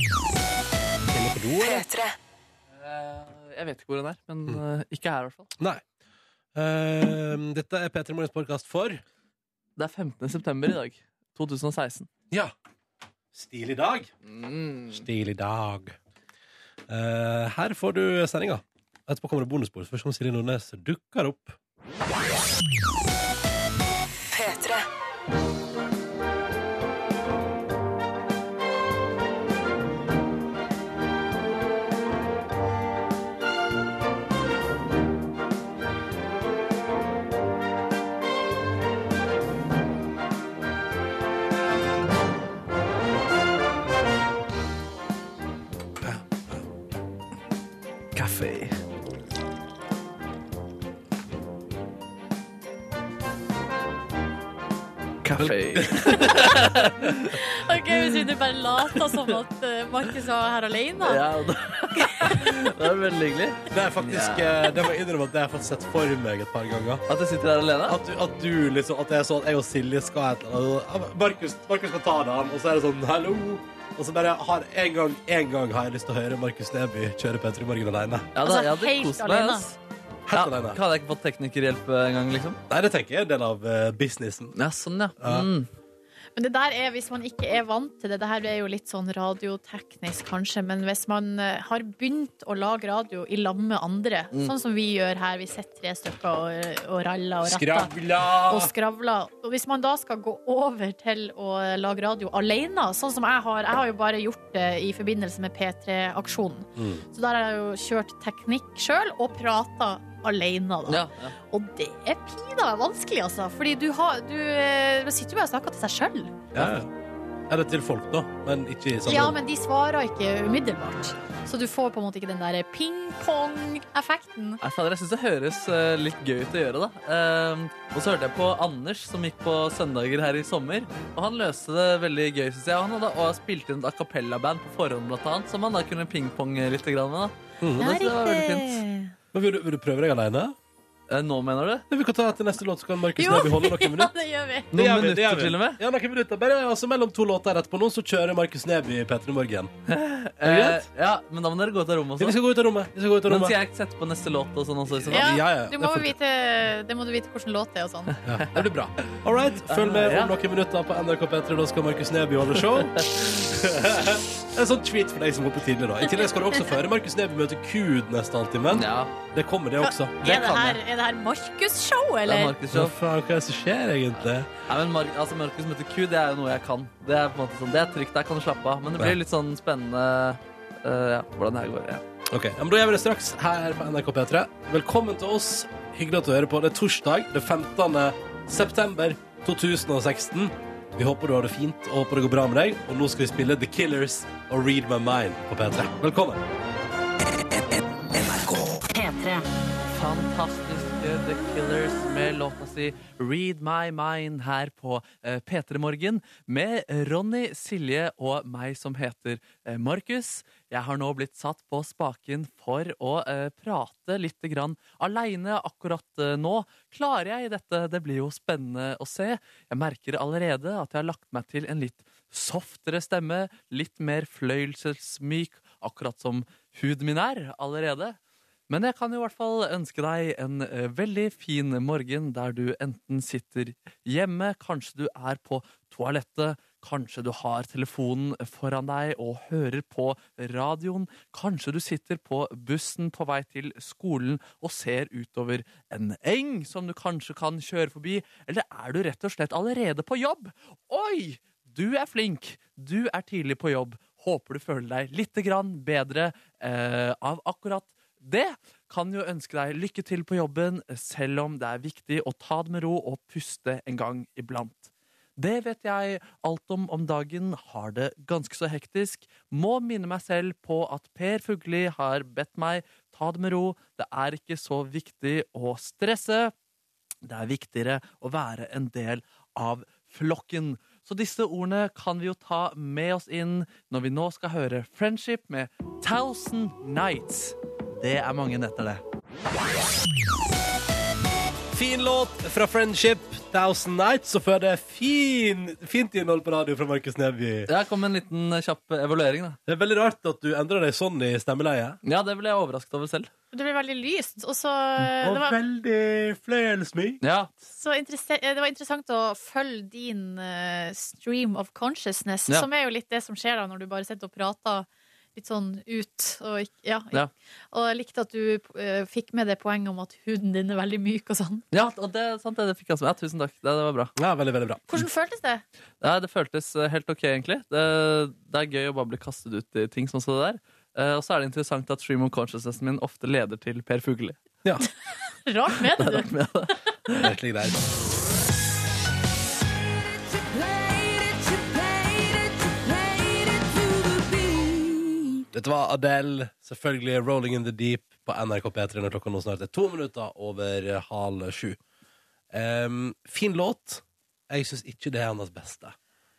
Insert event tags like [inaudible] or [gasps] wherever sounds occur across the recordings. Eller på do, eller? Eh, Jeg vet ikke hvor den er, men eh, ikke her i hvert fall. Nei. Eh, dette er P3 Morgens podkast for Det er 15. september i dag. 2016. Ja. Mm. Stilig dag. Stilig dag. Eh, her får du sendinga. Etterpå kommer det bonusbord. Først om Silje Nordnes dukker opp. Kaffe. Kaffe. Ok, Hvis vi nå bare later som at eh, Markus var her alene. da. [laughs] Ja, det det er veldig hyggelig. Det er faktisk eh, Det må jeg innrømme at det har jeg fått sett for meg et par ganger. At jeg sitter her alene. At du, at du liksom At det er sånn at jeg og Silje skal ha et eller annet Altså, ah, Markus, Markus skal ta det, han. Og så er det sånn hallo. Og så bare har en gang, en gang har jeg lyst til å høre Markus Neby kjøre P3 Morgen alene. Ja, da, Altså, jeg hadde helt kost meg. alene. Ass. Ja, Helt alene. hadde jeg ikke fått teknikerhjelp eh, engang, liksom? Nei, det tenker jeg er en del av eh, businessen. Ja, sånn, ja. Ja. Mm. Men det der er hvis man ikke er vant til det. Det her er jo litt sånn radioteknisk, kanskje. Men hvis man eh, har begynt å lage radio i lag med andre, Mm. sånn som vi gjør her, vi sitter tre stykker og, og raller og ratter. Og skravler. Og hvis man da skal gå over til å lage radio alene, sånn som jeg har Jeg har jo bare gjort det i forbindelse med P3-aksjonen. Mm. Så der har jeg jo kjørt teknikk sjøl og prata alene, da. Ja, ja. Og det er pinadø vanskelig, altså. Fordi du, har, du eh, sitter jo bare og snakker til seg sjøl. Ja. Eller til folk, da, men ikke i Sånn, samme Ja, men de svarer ikke umiddelbart. Så du får på en måte ikke den der ping-pong-effekten. Nei, fader, jeg syns det høres eh, litt gøy ut å gjøre, da. Ehm, og så hørte jeg på Anders, som gikk på søndager her i sommer. Og han løste det veldig gøy, syns jeg. Og Han hadde og spilt inn et a cappella-band på forhånd, blant annet, som han da kunne pingponge litt grann med. Da. Og det, det var veldig fint. [laughs] Men vil, du, vil du prøve deg alene? Eh, nå, mener du? Ja, Vi kan ta til neste låt, så kan Markus Jo. Neby holde [laughs] noen Ja, minutter. det gjør vi. Det Noen gjør vi, det gjør minutter, vi. til og med. Ja, noen minutter. Bare altså, mellom to låter rett på nå, så kjører Markus Neby P3 Morgen. Er det Eh, greit? ja, men da må dere gå ut av rommet Ja, Vi også. skal gå ut av rommet. Vi skal gå ut av Men skal rommet. jeg sette på neste låt og sånn også? i så fall? Ja, ja, Ja, du det må jo får vite, det må du vite hvordan låt det er og sånn. Ja, det blir bra. All right, Følg med om noen minutter på NRK P3. Da skal Markus Neby holde [laughs] show. en sånn tweet for deg som hopper tidlig, da. I tillegg skal du også føre Markus Neby møter Kud neste halvtime. Ja, Det kommer, det også. det Er det kan her, jeg. er det her Markus-show, Det er eller? Markus Så Show. faen, hva er det som skjer, egentlig? Nei, men Mar altså, Markus møter Q, det er jo noe jeg kan. Det er på en måte sånn, det er trygt, der kan du slappe av. Men det Ja. blir litt sånn spennende eh, ja, hvordan det her går. Ja. Ok, ja, men Da gjør vi det straks her på NRK P3. Velkommen til oss. Hyggelig at du hører på. Det er torsdag det 15. september 2016. Vi håper du har det fint og håper det går bra med deg. Og nå skal vi spille The Killers og Read My Mind på P3. Velkommen. Fantastiske eh, The Killers med låta si Read My Mind her på eh, P3 Morgen med Ronny, Silje og meg som heter eh, Markus. Jeg har nå blitt satt på spaken for å eh, prate litt grann aleine akkurat eh, nå. Klarer jeg dette? Det blir jo spennende å se. Jeg merker allerede at jeg har lagt meg til en litt softere stemme, litt mer fløyelsesmyk, akkurat som huden min er allerede. Men jeg kan jo i hvert fall ønske deg en eh, veldig fin morgen der du enten sitter hjemme, kanskje du er på toalettet, kanskje du har telefonen foran deg og hører på radioen, kanskje du sitter på bussen på vei til skolen og ser utover en eng som du kanskje kan kjøre forbi, eller er du rett og slett allerede på jobb? Oi! Du er flink, du er tidlig på jobb, håper du føler deg litt grann bedre eh, av akkurat det kan jo ønske deg lykke til på jobben, selv om det er viktig å ta det med ro og puste en gang iblant. Det vet jeg alt om om dagen, har det ganske så hektisk. Må minne meg selv på at Per Fugli har bedt meg ta det med ro, det er ikke så viktig å stresse. Det er viktigere å være en del av flokken. Så disse ordene kan vi jo ta med oss inn når vi nå skal høre Friendship med Thousand Nights. Det er mange netter, det. Fin låt fra Friendship, Thousand Nights, og før det fin, fint innhold på radio fra Markus Neby. Jeg kom med en liten eh, kjapp evaluering. da Det er veldig rart at du endrer deg sånn i stemmeleie. Ja, Det ble jeg overrasket over selv. Det ble veldig lyst. Og så Og det var, veldig fløyelsmyk. Ja, så interesse- eh, det var interessant å følge din eh, stream of consciousness, Ja. som er jo litt det som skjer da når du bare sitter og prater litt sånn ut. Og, ikk- ja, Ja. og jeg likte at du eh, fikk med det poenget om at huden din er veldig myk og sånn. ja og det, sant, det, det fikk jeg også med. Ja, tusen takk. Det, det var bra. Ja, veldig, veldig bra. Hvordan føltes det? Nei, det føltes eh, helt ok, egentlig. Det, det er gøy å bare bli kastet ut i ting som så det der. Eh, og så er det interessant at stream of consciousnessen min ofte leder til Per Fugelli. Ja, Rart med det, du. Men ja, det- virkelig greit. Dette var Adele, selvfølgelig Rolling in the Deep på NRK P3 når klokka nå snart er to minutter over halv sju. Ehm, fin låt. Jeg syns ikke det er hennes beste.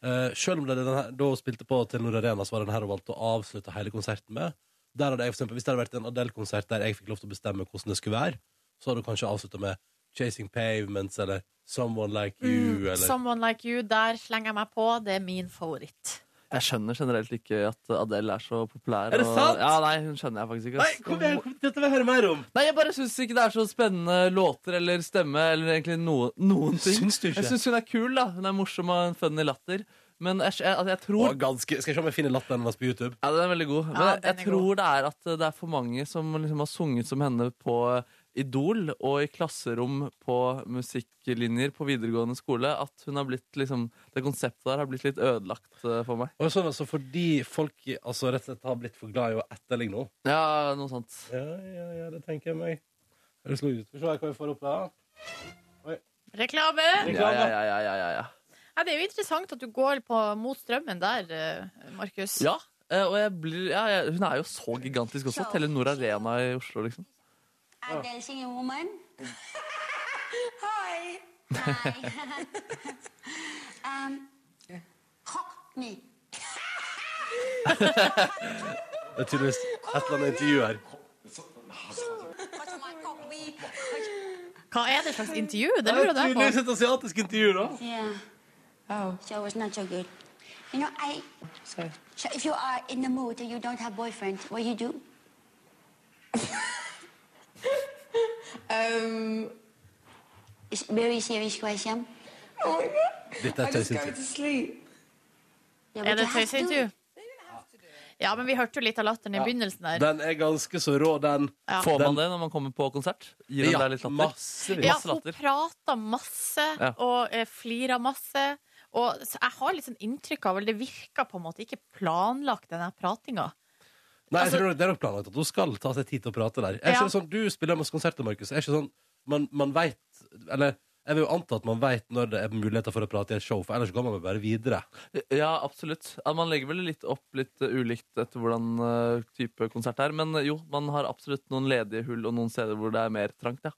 Eh, selv om det er den her, da hun spilte på Telenor Arena, så var den her hun valgte å avslutte hele konserten med. Der hadde jeg for eksempel, Hvis det hadde vært en Adele-konsert der jeg fikk lov til å bestemme hvordan det skulle være, så hadde hun kanskje avslutta med 'Chasing Pavements' eller 'Someone Like You' Mm, [laughs] eller Someone like you, der slenger jeg meg på. Det er min favoritt. Jeg skjønner generelt ikke at Adele er så populær. Er det og- sant? Ja, nei, hun skjønner jeg faktisk ikke. Nei, ass. kom igjen! kom- Dette vil jeg høre mer om! Nei, jeg bare syns ikke det er så spennende låter eller stemme eller egentlig noe, noen ting. Syns du ikke? Jeg syns hun er kul, da. Hun er morsom og en funny latter. Men jeg, jeg, altså, jeg Og tror ganske, skal jeg se om jeg finner latteren hennes på YouTube. Ja, den er veldig god. Men Ja, jeg, den jeg er god. tror det er at det er for mange som liksom har sunget som henne på Idol og i klasserom på musikklinjer på videregående skole, at hun har blitt liksom Det konseptet der har blitt litt ødelagt eh, for meg. Og sånn altså Fordi folk altså, rett og slett har blitt for glad i å etterligne henne. Ja, noe sånt. Ja, ja, ja, det tenker jeg meg. Er det slå ut? Skal vi se hva vi får opp her. Reklame! Ja, ja, ja, ja, ja, ja, ja. Ja, det er jo interessant at du går på, mot strømmen der, eh, Markus. Ja, eh, og jeg blir, ja, jeg, hun er jo så gigantisk også. Telenor Arena i Oslo, liksom. Adele singing woman. [laughs] Hi. [laughs] Hi. um, cock me. Det er tydeligvis et eller annet intervju her. Touch my cock me. Hva er det slags intervju? Det Det er lurer jeg på. tydeligvis et asiatisk intervju, da. Yeah. Oh. So it's not so good. You know, I. So. So if you are in the mood and you don't have boyfriend, what you do? [laughs] um. It's very serious question. Dette er tøysintervju. Er Yeah, but det et you have to do tøyseintervju? Ja, men vi hørte jo litt av latteren i begynnelsen der. Den er ganske så rå, den. Ja. Får Den- man det når man kommer på konsert? Gir hun Ja, deg litt latter? massevis. Ja, masse hun latter. prata masse Ja. og eh, flira masse. Og så jeg har litt sånn inntrykk av Eller det virka på en måte ikke planlagt, den her pratinga. Nei, jeg Altså- tror det er nok planlagt at hun skal ta seg tid til å prate der. Er Ja. ikke det sånn, Du spiller masse konserter, Markus. Er ikke sånn Man, man veit Eller jeg vil jo anta at man veit når det er muligheter for å prate i et show, for ellers går man vel bare videre. Ja, absolutt. Ja, Man legger vel litt opp litt eh, ulikt etter hvordan eh, type konsert det er. Men eh, jo, man har absolutt noen ledige hull og noen steder hvor det er mer trangt, ja.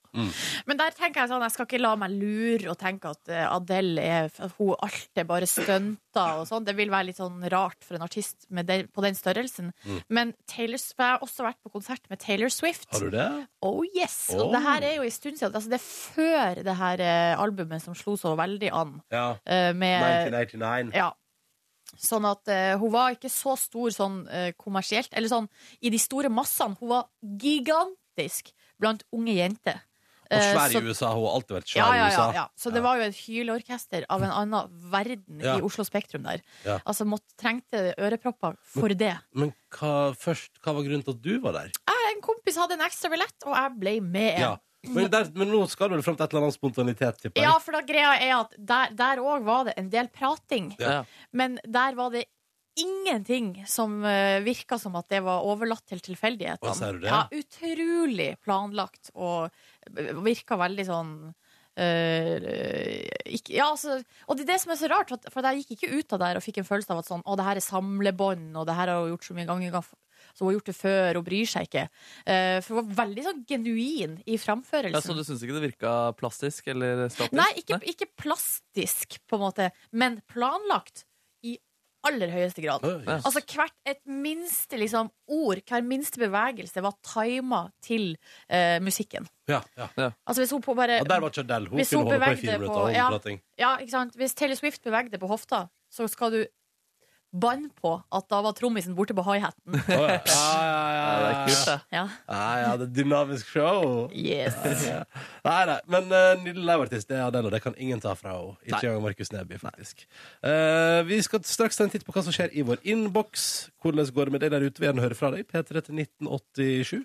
Men der tenker jeg sånn, jeg skal ikke la meg lure og tenke at eh, Adele er at hun, Alt er bare stunter og sånn. Det vil være litt sånn rart for en artist med den- på den størrelsen. Mm. Men Taylor, Sw- jeg har også vært på konsert med Taylor Swift. Har du det? Oh yes! Oh. Og det her er jo en stund siden. Altså, det er før det her eh, albumet som slo så veldig an. Ja. eh, Med 1989. Ja. Sånn at eh, hun var ikke så stor sånn eh, kommersielt. Eller sånn i de store massene. Hun var gigantisk blant unge jenter. Og Eh, svær i så- USA. Hun har alltid vært ja, svær i ja, USA. ja, ja. Så det Ja. var jo et hyleorkester av en annen verden Ja. i Oslo Spektrum der. Ja. Altså måtte, trengte ørepropper for det. Men hva, først, hva var grunnen til at du var der? En kompis hadde en ekstra billett, og jeg ble med. Ja. Men, der, men nå skal du vel fram til et eller annet spontanitet, tipper jeg. Ja, for da greia er at der- der òg var det en del prating. Ja. ja. Men der var det ingenting som uh, virka som at det var overlatt til tilfeldighetene. Å, ser du det? Ja, utrolig planlagt og virka veldig sånn eh, ikke, ja, altså, og det er det som er så rart, for at- for jeg gikk ikke ut av der og fikk en følelse av at sånn, å, det her er samlebånd, og det her har hun gjort så mye ganger. ganger f- Så hun har gjort det før, og bryr seg ikke. Eh, for hun var veldig sånn genuin i framførelsen. ja Så du syns ikke det virka plastisk eller statisk? Nei, ikke, ikke plastisk, på en måte, men planlagt i aller høyeste grad. Oi. Ja. Altså hvert et minste liksom, ord, hver minste bevegelse var tima til eh, musikken. Ja, ja. Altså hvis hun på bare Og der var ikke Adele. Hun Hvis kunne hun holde på i bevegde fire på- minutter. og ja. prating. Ja, ikke sant? Hvis Taylor Swift bevegde på hofta, så skal du banne på at da var trommisen borte på [laughs] hi-haten. Å, [laughs] ja. Ja, ja, ja, ja, ja. Ja. Ja, ja, det er dynamisk show. Yes. Nei, nei, men uh, nydelig liveartist, det er Adele, og det kan ingen ta fra henne. Ikke engang Markus Neby, faktisk. Eh, vi skal straks ta en titt på hva som skjer i vår innboks. Hvordan går det med deg der ute? Vi gjerne hører fra deg. P3 til 1987.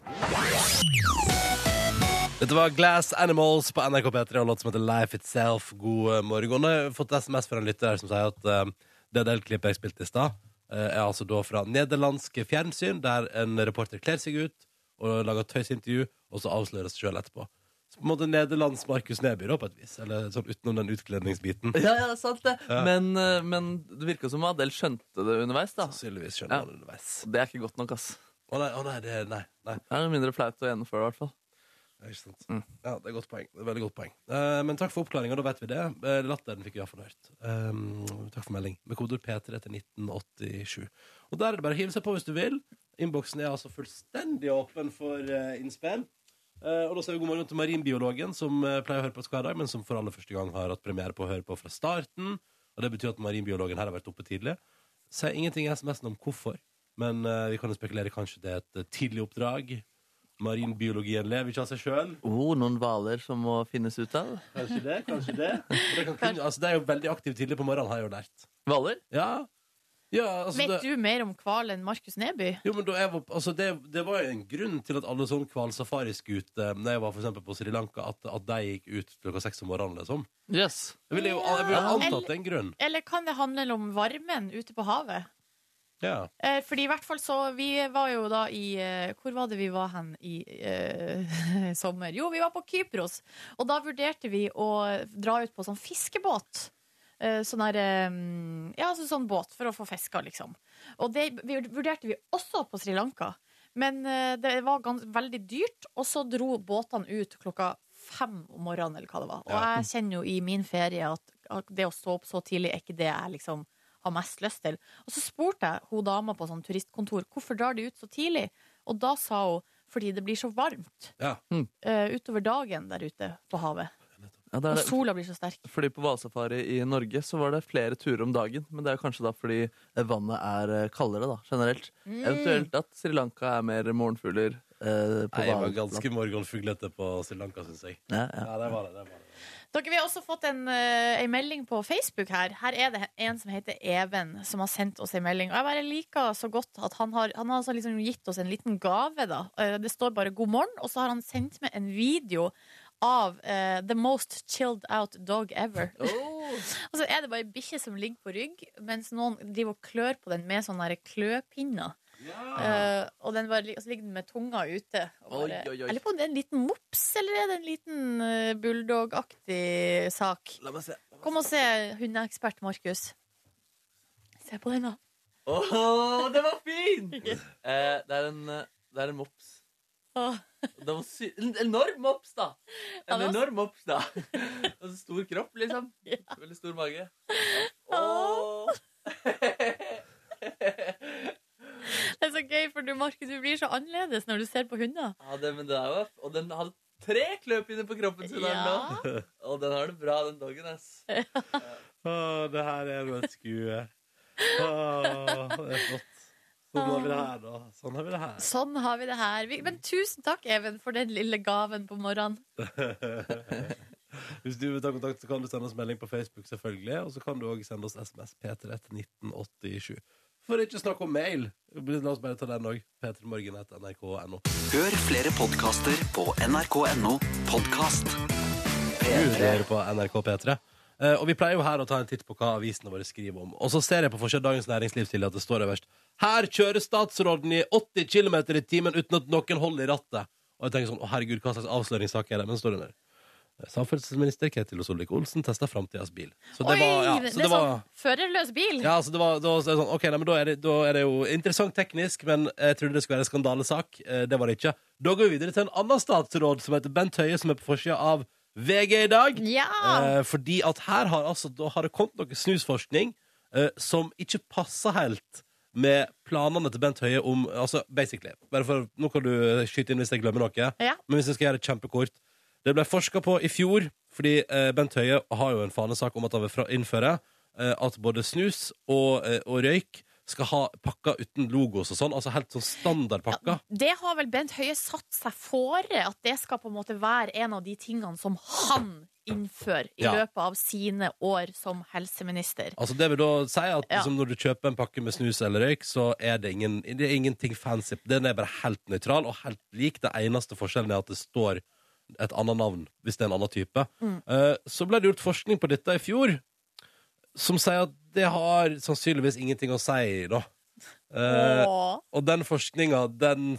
Dette var Glass Animals på NRK P3 og en låt som heter Life Itself. God eh, morgen. Jeg har fått SMS fra en lytter her som sier at eh, det delklippet jeg spilte i stad, eh, er altså da fra nederlandske fjernsyn, der en reporter kler seg ut og lager et tøysintervju, og så avslører seg sjøl etterpå. Så på en måte nederlandsk Markus Neby, da, på et vis. Eller sånn utenom den utkledningsbiten. Ja, ja, det er sant det. Men, eh, men det virka som Adele skjønte det underveis. da Sannsynligvis Ja. skjønner han underveis. Det er ikke godt nok, ass. Å nei, å nei, det, nei, nei. Det er mindre flaut å gjennomføre, i hvert fall. Ja, Ikke sant. Ja, det er godt poeng. Det er veldig godt poeng. Eh, men takk for oppklaringa, da vet vi det. Eh, Latteren fikk vi iallfall hørt. Um, takk for melding. Med kodeord P3 til 1987. Og der er det bare å hive seg på hvis du vil. Innboksen er altså fullstendig åpen for eh, innspill. Eh, og da sier vi god morgen til marinbiologen, som eh, pleier å høre på oss hver dag, men som for aller første gang har hatt premiere på å høre på fra starten. Og det betyr at marinbiologen her har vært oppe tidlig. Sier ingenting i SMS-en om hvorfor, men eh, vi kan jo spekulere kanskje det er et eh, tidlig oppdrag. Marinbiologien lever ikke av seg sjøl. Oh, noen hvaler som må finnes ut av. Kanskje det, kanskje det. Og det, kan kun, altså, det er jo veldig aktiv tidlig på morgenen, har jeg jo lært. Hvaler? Ja, ja altså, Vet det, du mer om hval enn Markus Neby? jo, men da jeg var, altså, det, det var jo en grunn til at alle sånn hvalsafariskuter Når jeg var for eksempel på Sri Lanka, at, at de gikk ut klokka seks om morgenen. Liksom. Yes. Jeg ville jo jeg ville Ja. antatt det er en grunn. Eller kan det handle om varmen ute på havet? Ja. Eh, fordi i hvert fall så Vi var jo da i eh, Hvor var det vi var hen i eh, [laughs] sommer? Jo, vi var på Kypros. Og da vurderte vi å dra ut på sånn fiskebåt. Eh, sånn der eh, Ja, altså sånn båt for å få fiska, liksom. Og det vi- vurderte vi også på Sri Lanka. Men eh, det var gans, veldig dyrt, og så dro båtene ut klokka fem om morgenen, eller hva det var. Og Ja. jeg kjenner jo i min ferie at at det å stå opp så tidlig er ikke det jeg liksom har mest lyst til. Og så spurte jeg hun dama på sånn turistkontor hvorfor drar de ut så tidlig. Og da sa hun fordi det blir så varmt ja. eh, utover dagen der ute på havet. Ja, det Og er det. sola blir så sterk. Fordi På hvalsafari i Norge så var det flere turer om dagen. Men det er kanskje da fordi eh, vannet er eh, kaldere da, generelt. Eventuelt at Sri Lanka er mer morgenfugler eh, på Nei, jeg var hvalen. ganske morgenfuglete på Sri Lanka, syns jeg. Ja, ja. Ja, det var det. det, var det. Dere, Vi har også fått en, eh, en melding på Facebook her. Her er det en som heter Even, som har sendt oss en melding. Og jeg bare liker så godt at han har, han har altså liksom gitt oss en liten gave, da. Eh, Det står bare 'god morgen', og så har han sendt med en video av eh, 'The Most Chilled Out Dog Ever'. og så er det bare ei bikkje som ligger på rygg, mens noen driver og klør på den med sånne der kløpinner. Eh, og den bare, lig- og så ligger den med tunga ute. Og bare, Oi, oi, oi. Jeg lurer på om det er en liten mops, eller er det en liten eh, bulldog-aktig sak? La meg se. Kom og se hundeekspert Markus. Se på den, da. Åh, det var [laughs] fint! Eh, det, er en, eh, det er en mops. Åh. Det var sy en enorm mops, da! En Ja, det var- enorm mops, da. [laughs] Og så stor kropp, [laughs] liksom. Veldig stor mage. Åh. Det er så gøy, for du, Markus, du blir så annerledes når du ser på hunder. Ja, det, men det er jo, og den hadde tre kløpinner på kroppen sin. her nå. Ja. [laughs] Og den har det bra, den doggen. ass. Å, det her er jo et skue. Å, det er flott. Sånn har vi det her, da. Sånn har vi det her. Sånn har vi det her. Vi- Men tusen takk, Even, for den lille gaven på morgenen. Hvis du vil ta kontakt, så kan du sende oss melding på Facebook, selvfølgelig. Og så kan du òg sende oss SMS P3 til 1987. For ikke å snakke om mail. La oss bare ta den òg. P3morgen.nrk.no. Hør flere podkaster på nrk.no podkast. Du hører på NRK P3. Eh, og vi pleier jo her å ta en titt på hva avisene våre skriver om. Og så ser jeg på forsiden av Dagens Næringsliv til at det står øverst. Her kjører statsråden i 80 km i timen uten at noen holder i rattet. Og jeg tenker sånn, å herregud, hva slags avsløringssak er det? Men så står det der. Samferdselsminister Ketil Solvik-Olsen testa framtidas bil. Så det Oi! var, ja, det, så er det var sånn førerløs bil. Ja, altså det var, da, så er det sånn, ok, nei, men da, er det, da er det jo interessant teknisk, men jeg trodde det skulle være en skandalesak. Eh, Det var det ikke. Da går vi videre til en annen statsråd som heter Bent Høie, som er på forsida av VG i dag. Ja. Eh, fordi at her har, altså, da har det kommet noe snusforskning eh, som ikke passer helt med planene til Bent Høie om Altså, basically. Bare for, nå kan du skyte inn hvis jeg glemmer noe. Ja. Men hvis jeg skal gjøre det kjempekort Det ble forska på i fjor, fordi eh, Bent Høie har jo en fanesak om at han vil fra- innføre eh, at både snus og, eh, og røyk skal ha pakker uten logos og sånn. Altså helt sånn standardpakker. Det har vel Bent Høie satt seg fore, at det skal på en måte være en av de tingene som han innfører i Ja. løpet av sine år som helseminister. Altså Det vil da si at Ja. liksom, når du kjøper en pakke med snus eller røyk, så er det, ingen, det er ingenting fancy. Den er bare helt nøytral og helt lik. Det eneste forskjellen er at det står et annet navn hvis det er en annen type. Mm. Eh, så ble det gjort forskning på dette i fjor, som sier at det har sannsynligvis ingenting å si, da. Eh, Åh. og den forskninga, den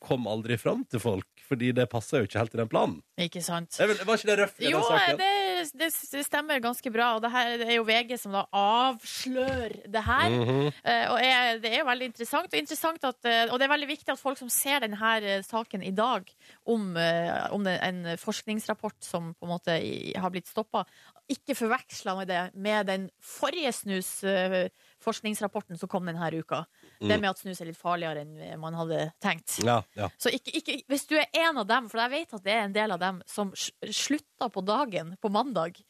kom aldri fram til folk, fordi det passer jo ikke helt i den planen. Ikke sant? Jeg vil- Var ikke det røft i Jo, den saken? det, det stemmer ganske bra, og det, her, det er jo VG som da avslører det her. Eh, Og er, det er jo veldig interessant, og, interessant at, eh, og det er veldig viktig at folk som ser denne saken i dag, om, eh, om det, en forskningsrapport som på en måte i, har blitt stoppa, ikke forveksler med det med den forrige snusforskningsrapporten som kom denne uka. Det med at snus er litt farligere enn man hadde tenkt. Ja, ja. Så ikke, ikke, hvis du er en av dem, for jeg vet at det er en del av dem som s- slutta på dagen på mandag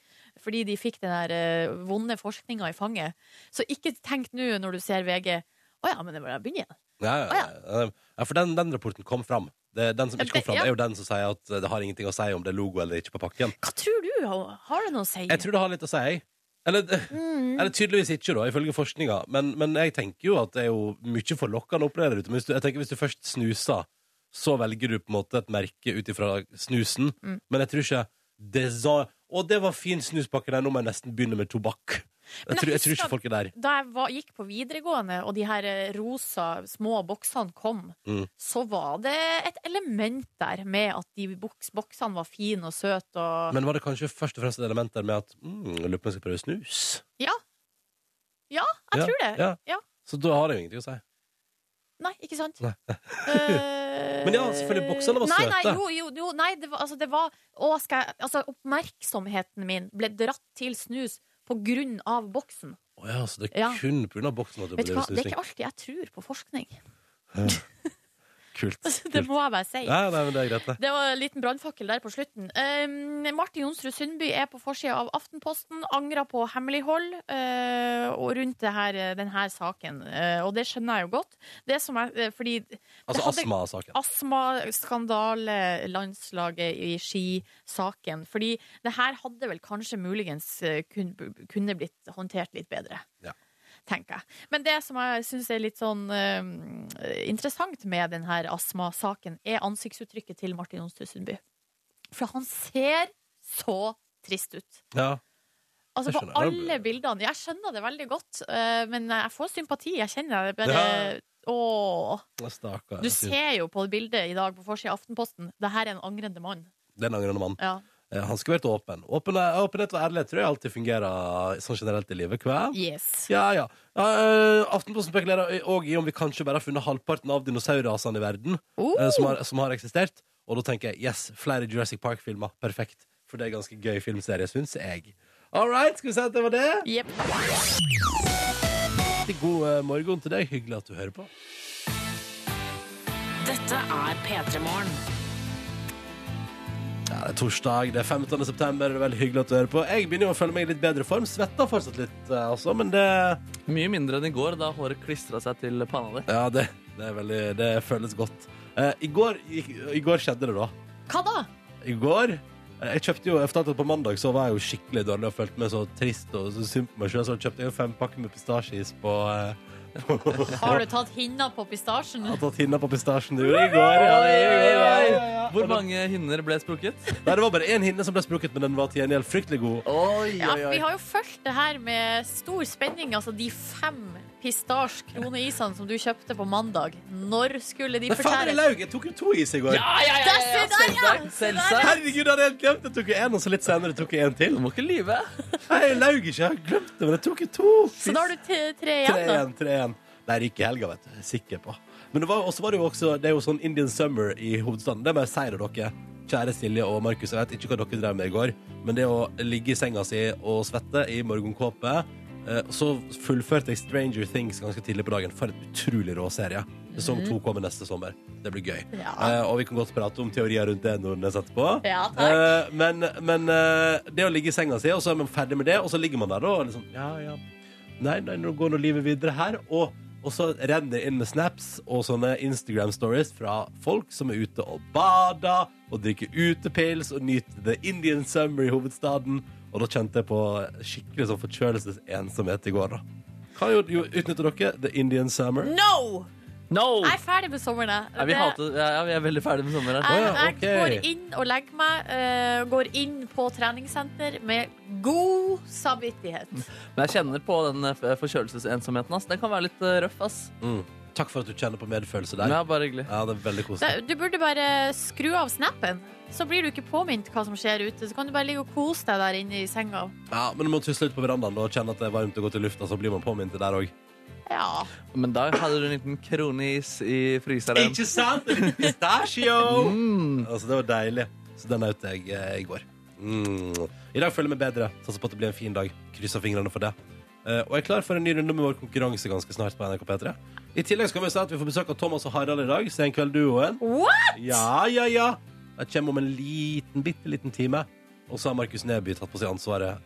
fordi de fikk den der eh, vonde forskninga i fanget, så ikke tenk nå når du ser VG å ja, men det må jeg begynne igjen. Ja, ja, ja. ja for den, den rapporten kom fram. Det, den som ikke kom Det- fram, ja. er jo den som sier at det har ingenting å si om det er logo eller ikke på pakken. Hva tror du? Har har det noe å si? Jeg tror det har litt å si. jeg. Eller, [laughs] Mm. eller tydeligvis ikke, da, ifølge forskninga. Men, men jeg tenker jo at det er jo mye forlokkende å oppleve der ute. Men hvis du, jeg tenker hvis du først snuser, så velger du på en måte et merke ut ifra snusen. Mm. Men jeg tror ikke design Å, det var fin snuspakke der, nå må jeg nesten begynne med tobakk. Jeg Men jeg tror, jeg tror husker- ikke folk er der. Da jeg var, gikk på videregående, og de her eh, rosa små boksene kom, Mm. så var det et element der med at de boks, boksene var fine og søte og Men var det kanskje først og fremst et element der med at mm, jeg lurer på om jeg skal prøve snus? Ja. Ja, jeg Ja, tror det. ja. ja. Så da har det jo ingenting å si. Nei, ikke sant? Nei. Eh, Men ja, selvfølgelig, boksene var nei, Nei, søte. jo, jo, jo, nei, det var, altså, det var å, skal jeg, altså, Oppmerksomheten min ble dratt til snus på grunn av boksen. Å ja, så det er Ja. kun pga. boksen at du Vet du blir hva? Det er snusing. ikke alltid jeg tror på forskning. [laughs] Kult. Altså, Det må jeg bare si. Ja, nei, men det er greit, det. Det var en liten brannfakkel der på slutten. Eh, Martin Jonsrud Sundby er på forsida av Aftenposten, angrer på hemmelighold eh, og rundt det her, denne saken. Eh, og det skjønner jeg jo godt. Det som er, eh, fordi Altså hadde- Ah. astmasaken. astmaskandale, landslaget i skisaken. Fordi det her hadde vel kanskje muligens eh, kun- kunne blitt håndtert litt bedre. Ja. Tenker jeg. Men det som jeg syns er litt sånn eh, interessant med denne astmasaken, er ansiktsuttrykket til Martin Jonsrud Sundby. For han ser så trist ut. Ja. Altså Jeg På skjønner det. alle bildene. Jeg skjønner det veldig godt, eh, men jeg får sympati. Jeg kjenner det bare Ja. Åh. Stakkar. Du ser jo på bildet i dag på forsida av Aftenposten. Det her er en angrende mann. Den angrende mannen. Ja. Eh, Han skulle vært åpen. Åpen- eh, Åpenhet og ærlighet tror jeg alltid fungerer sånn generelt i livet. Hva? Yes. Ja, ja. Eh, Aftenposten spekulerer i- og i om vi kanskje bare har funnet halvparten av dinosaurrasene i verden Oh. eh, som, har, som har eksistert. Og da tenker jeg yes, flere Jurassic Park-filmer. Perfekt. For det er ganske gøy filmserie, syns jeg. All right, skal vi si at det var det? Jep. Riktig god eh, morgen til deg. Hyggelig at du hører på. Dette er P3 Morgen. Ja, Det er torsdag, det er 15. september. Det er veldig hyggelig at du hører på. Jeg begynner jo å føle meg i litt bedre form. Svetter fortsatt litt, eh, altså, men det Mye mindre enn i går, da håret klistra seg til panna di. Ja, det, det, er veldig, det føles godt. Eh, i, går, i, I går skjedde det, da. Hva da? I går eh, jeg kjøpte jo, jeg fortalte at På mandag så var jeg jo skikkelig dårlig og følte meg så trist og så synd på meg sjøl, så kjøpte jeg jo fem pakker med pistasjeis på eh, [laughs] Har du tatt hinna på pistasjen? Har tatt hinna på pistasjen du i går. Ja, det, ja, ja, ja, ja, ja. Hvor mange hinner ble sprukket? Nei, det var bare én hinne som ble sprukket, men den var til gjengjeld fryktelig god. Oi, Ja, vi har jo fulgt det her med stor spenning. Altså de fem pistasj-kroneisene som du kjøpte på mandag. Når skulle de Nei, fader, fortæres? laug! Jeg tok jo to is i går. ja, Der, se der, Selvsagt. ja! Se der, selvsagt. Herregud, jeg hadde helt glemt det. Jeg tok jo en, og så litt senere tok jeg en til. Du må ikke lyve. Nei, jeg laug ikke. Jeg har glemt det, men jeg tok jo to. Så da har du t- tre Tre igjen, da. igjen, tre igjen. Nei, det gikk i helga, vet du. Jeg er sikker på. Men det var, også var det jo også Det er jo sånn Indian summer i hovedstaden. Det må jeg si til dere. Kjære Silje og Markus, jeg vet ikke hva dere drev med i går, men det å ligge i senga si og svette i morgenkåpe Eh, og så fullførte jeg Stranger Things ganske tidlig på dagen. For en utrolig rå serie. Sesong to kommer neste sommer. Det blir gøy. Mhm. Ja. Eh, og vi kan godt prate om teorier rundt det når den er satt på. Ja, takk. Eh, men men eh, det å ligge i senga si, og så er man ferdig med det, og så ligger man der da, og liksom Ja, ja. Nei, nei, nå går nå livet videre her. Og, og så renner det inn med snaps og sånne Instagram-stories fra folk som er ute og bader og drikker utepils og nyter the Indian summer i hovedstaden. Og da kjente jeg på skikkelig sånn forkjølelsesensomhet i går, da. Hva gjorde- jo- utnytter dere? The Indian summer? No! No! Jeg er ferdig med sommeren, jeg. Nei, vi, Det- hater, ja, vi er veldig ferdig med sommeren. her. Å Jeg, ja, jeg ok. går inn og legger meg, eh, går inn på treningssenter med god samvittighet. Men jeg kjenner på den eh, forkjølelsesensomheten. ass. Den kan være litt eh, røff. ass. Mm. Takk for at du kjenner på medfølelse Men der. det er bare hyggelig. Ja, det er veldig koselig. Da- Du burde bare skru av snappen, så blir du ikke påminnet hva som skjer ute. Så kan du bare ligge og kose deg der inne i senga. Ja, Men du må tusle ut på verandaen da, og kjenne at det er varmt og godt i lufta, så blir man påminnet det der òg. Ja. Men da hadde du en liten kronis i fryseren. Ikke sant? En liten Pistachio! Altså, det var deilig. Så den nøt jeg eh, i går. Mm. I dag føler jeg meg bedre. Satser på at det blir en fin dag. Krysser fingrene for det. Eh, og jeg er klar for en ny runde med vår konkurranse ganske snart på NRK P3. I tillegg skal vi si at vi får besøk av Thomas og Harald i dag. Senkveldduoen. What?! Ja, ja, ja. Jeg kommer om en liten, bitte liten time. Og så har Markus Neby tatt på seg ansvaret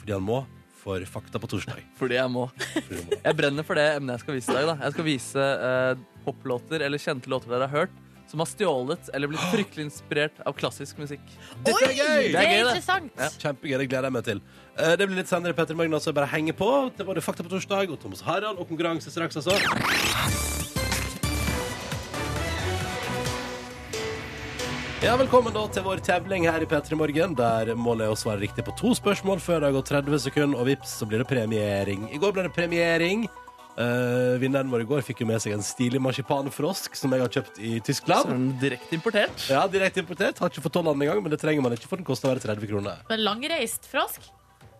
fordi han må, for Fakta på torsdag. Fordi jeg må. Fordi han må. Jeg brenner for det emnet jeg skal vise i dag. da. Jeg skal vise eh, poplåter eller kjente låter dere har hørt, som har stjålet eller blitt fryktelig inspirert av klassisk musikk. Dette er gøy! Det Det er er gøy, det. interessant. Ja. Kjempegøy, det gleder jeg meg til. Eh, Det blir litt senere, Petter Magna, så bare henge på. Det var det Fakta på torsdag og Thomas Harald og konkurranse straks, altså. Ja, Velkommen da til vår tevling her i P3 Morgen, der målet er å svare riktig på to spørsmål før det har gått 30 sekunder, og vips, så blir det premiering. I går ble det premiering. Eh, vinneren vår i går fikk jo med seg en stilig marsipanfrosk som jeg har kjøpt i Så er Tyskland. den direkte importert. Ja, Direkte importert. Har ikke fått tollene engang, men det trenger man ikke, for den koster bare 30 kroner. Men langreist frosk?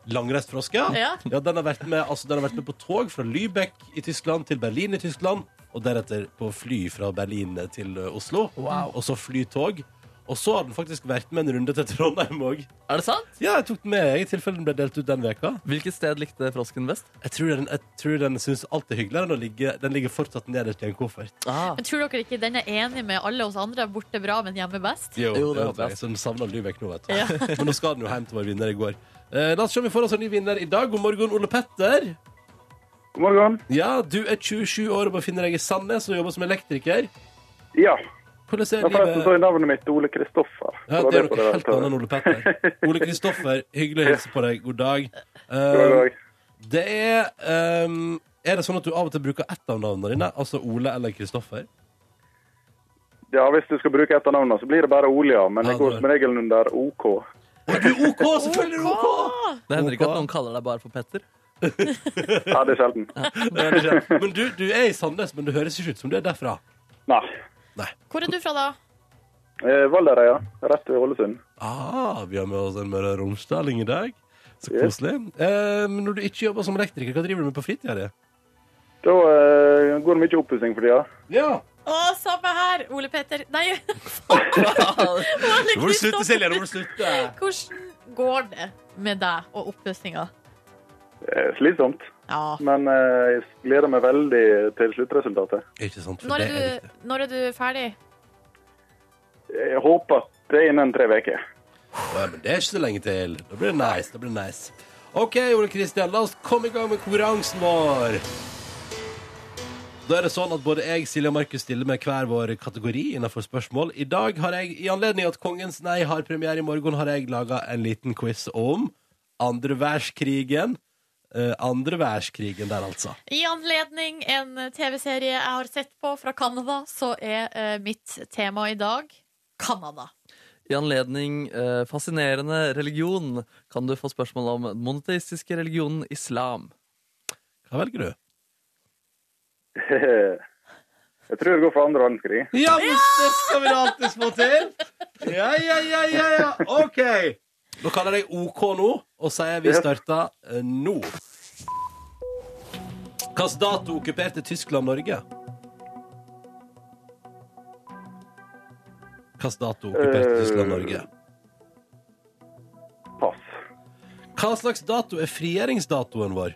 Langreist frosk, ja. Ja. den, har vært med, altså, den har vært med på tog fra Lübeck i Tyskland til Berlin i Tyskland, og deretter på fly fra Berlin til ø, Oslo, og så flytog. Og så har den faktisk vært med en runde til Trondheim òg. Er det sant? Ja, jeg tok den med jeg, i tilfelle den ble delt ut den veka. Hvilket sted likte frosken best? Jeg tror den, jeg tror den syns alt er hyggeligere enn å ligge Den ligger fortsatt nederst i en koffert. Ah. Men tror dere ikke den er enig med alle oss andre? Borte bra, men hjemme best? Jo, det det håper jeg. jeg. Så den savner Lübeck nå, vet du. Men nå skal den jo hjem til vår vinner i går. Eh, la oss se om vi får oss en ny vinner i dag. God morgen, Ole Petter. God morgen. Ja, du er 27 år og befinner deg i Sandnes og jobber som elektriker. Ja. Hvordan Nå er forresten så livet? er navnet mitt Ole Kristoffer. Ja, Så det er derfor noe var helt så- annet enn Ole [laughs] Petter. Ole Kristoffer, hyggelig å hilse på deg. God dag. God dag. Um, det er um, Er det sånn at du av og til bruker ett av navnene dine? Altså Ole eller Kristoffer? Ja, hvis du skal bruke et av navnene, så blir det bare Ole, ja. Men Ja, jeg går det- som regel under OK. Å, du er OK! Selvfølgelig er du OK! Det hender ikke Ok. at noen kaller deg bare for Petter. [laughs] Ja, det er sjelden. Det er det ikke. Men du, du er i Sandnes, men det høres ikke ut som du er derfra. Nei. Hvor er du fra, da? Eh, Valderøya, rett ved Ålesund. Ah, vi har med oss en Møre og Romsdaling i dag. Så Yes. koselig. Um, når du ikke jobber som elektriker, hva driver du med på fritida di? Da eh, går det mye oppussing for tida. Ja. Å, samme her! Ole Petter. Nei, [laughs] Nå må du slutte, Silje. Nå må du slutte. hvordan går det med deg og oppussinga? Eh, Slitsomt. Ja. Men eh, jeg gleder meg veldig til sluttresultatet. Ikke sant, for Når det er er viktig. du, når er du ferdig? Jeg håper at Eh, det er innen tre [laughs] uker. Ja, men det er ikke så lenge til. Da blir det nice. Da blir det nice. OK, Ole Kristian, la oss komme i gang med konkurransen vår. Da er det sånn at Både jeg, Silje og Markus stiller med hver vår kategori innenfor spørsmål. I dag har jeg, i anledning at Kongens nei har premiere i morgen, har jeg laga en liten quiz om andre verdenskrigen. Eh, andre verdenskrigen der, altså. I anledning en TV-serie jeg har sett på fra Canada, så er eh, mitt tema i dag Canada. I anledning eh, fascinerende religion kan du få spørsmål om den monoteistiske religionen islam. Hva velger du? Jeg tror det går for andre verdenskrig. Ja, men det skal vi da alltid få til. Ja, ja, ja, ja, ja. OK. Nå kaller jeg OK nå, og sier vi starter eh, nå. Hvilken dato okkuperte Tyskland Norge? Hvilken dato okkuperte Eh. Tyskland Norge? Pass. Hva slags dato er frigjøringsdatoen vår?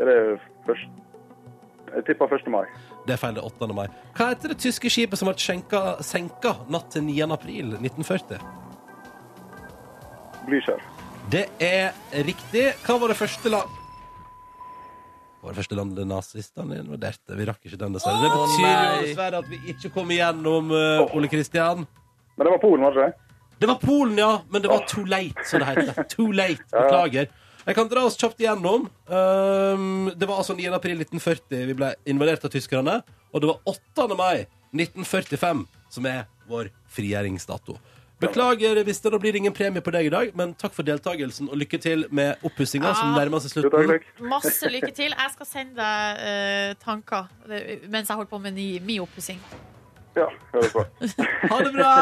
Er det først... Jeg tipper 1. mai. Det er feil, det er 8. mai. Hva heter det tyske skipet som ble skjenka, senka natt til 9. april 1940? Blykjær. Det er riktig. Hva var det første la... Hva var det første landet nazistene invaderte? Vi rakk ikke den, dessverre. Det betyr jo nei. dessverre at vi ikke kom igjennom, eh, Ole Kristian. Men det var Polen, var det ikke det? Det var Polen, ja, men det var too late, som det heter. Too late, beklager. Jeg kan dra oss kjapt igjennom. Um, det var altså 9. april 1940 vi ble invadert av tyskerne, og det var 8. mai 1945 som er vår frigjøringsdato. Beklager hvis det da blir ingen premie på deg i dag, men takk for deltakelsen, og lykke til med oppussinga som nærmer seg Ah. Jo, takk, slutten. takk. Masse lykke til. Jeg skal sende deg eh, tanker eh, mens jeg holder på med ny- min oppussing. Ja, høres bra. Ha det bra!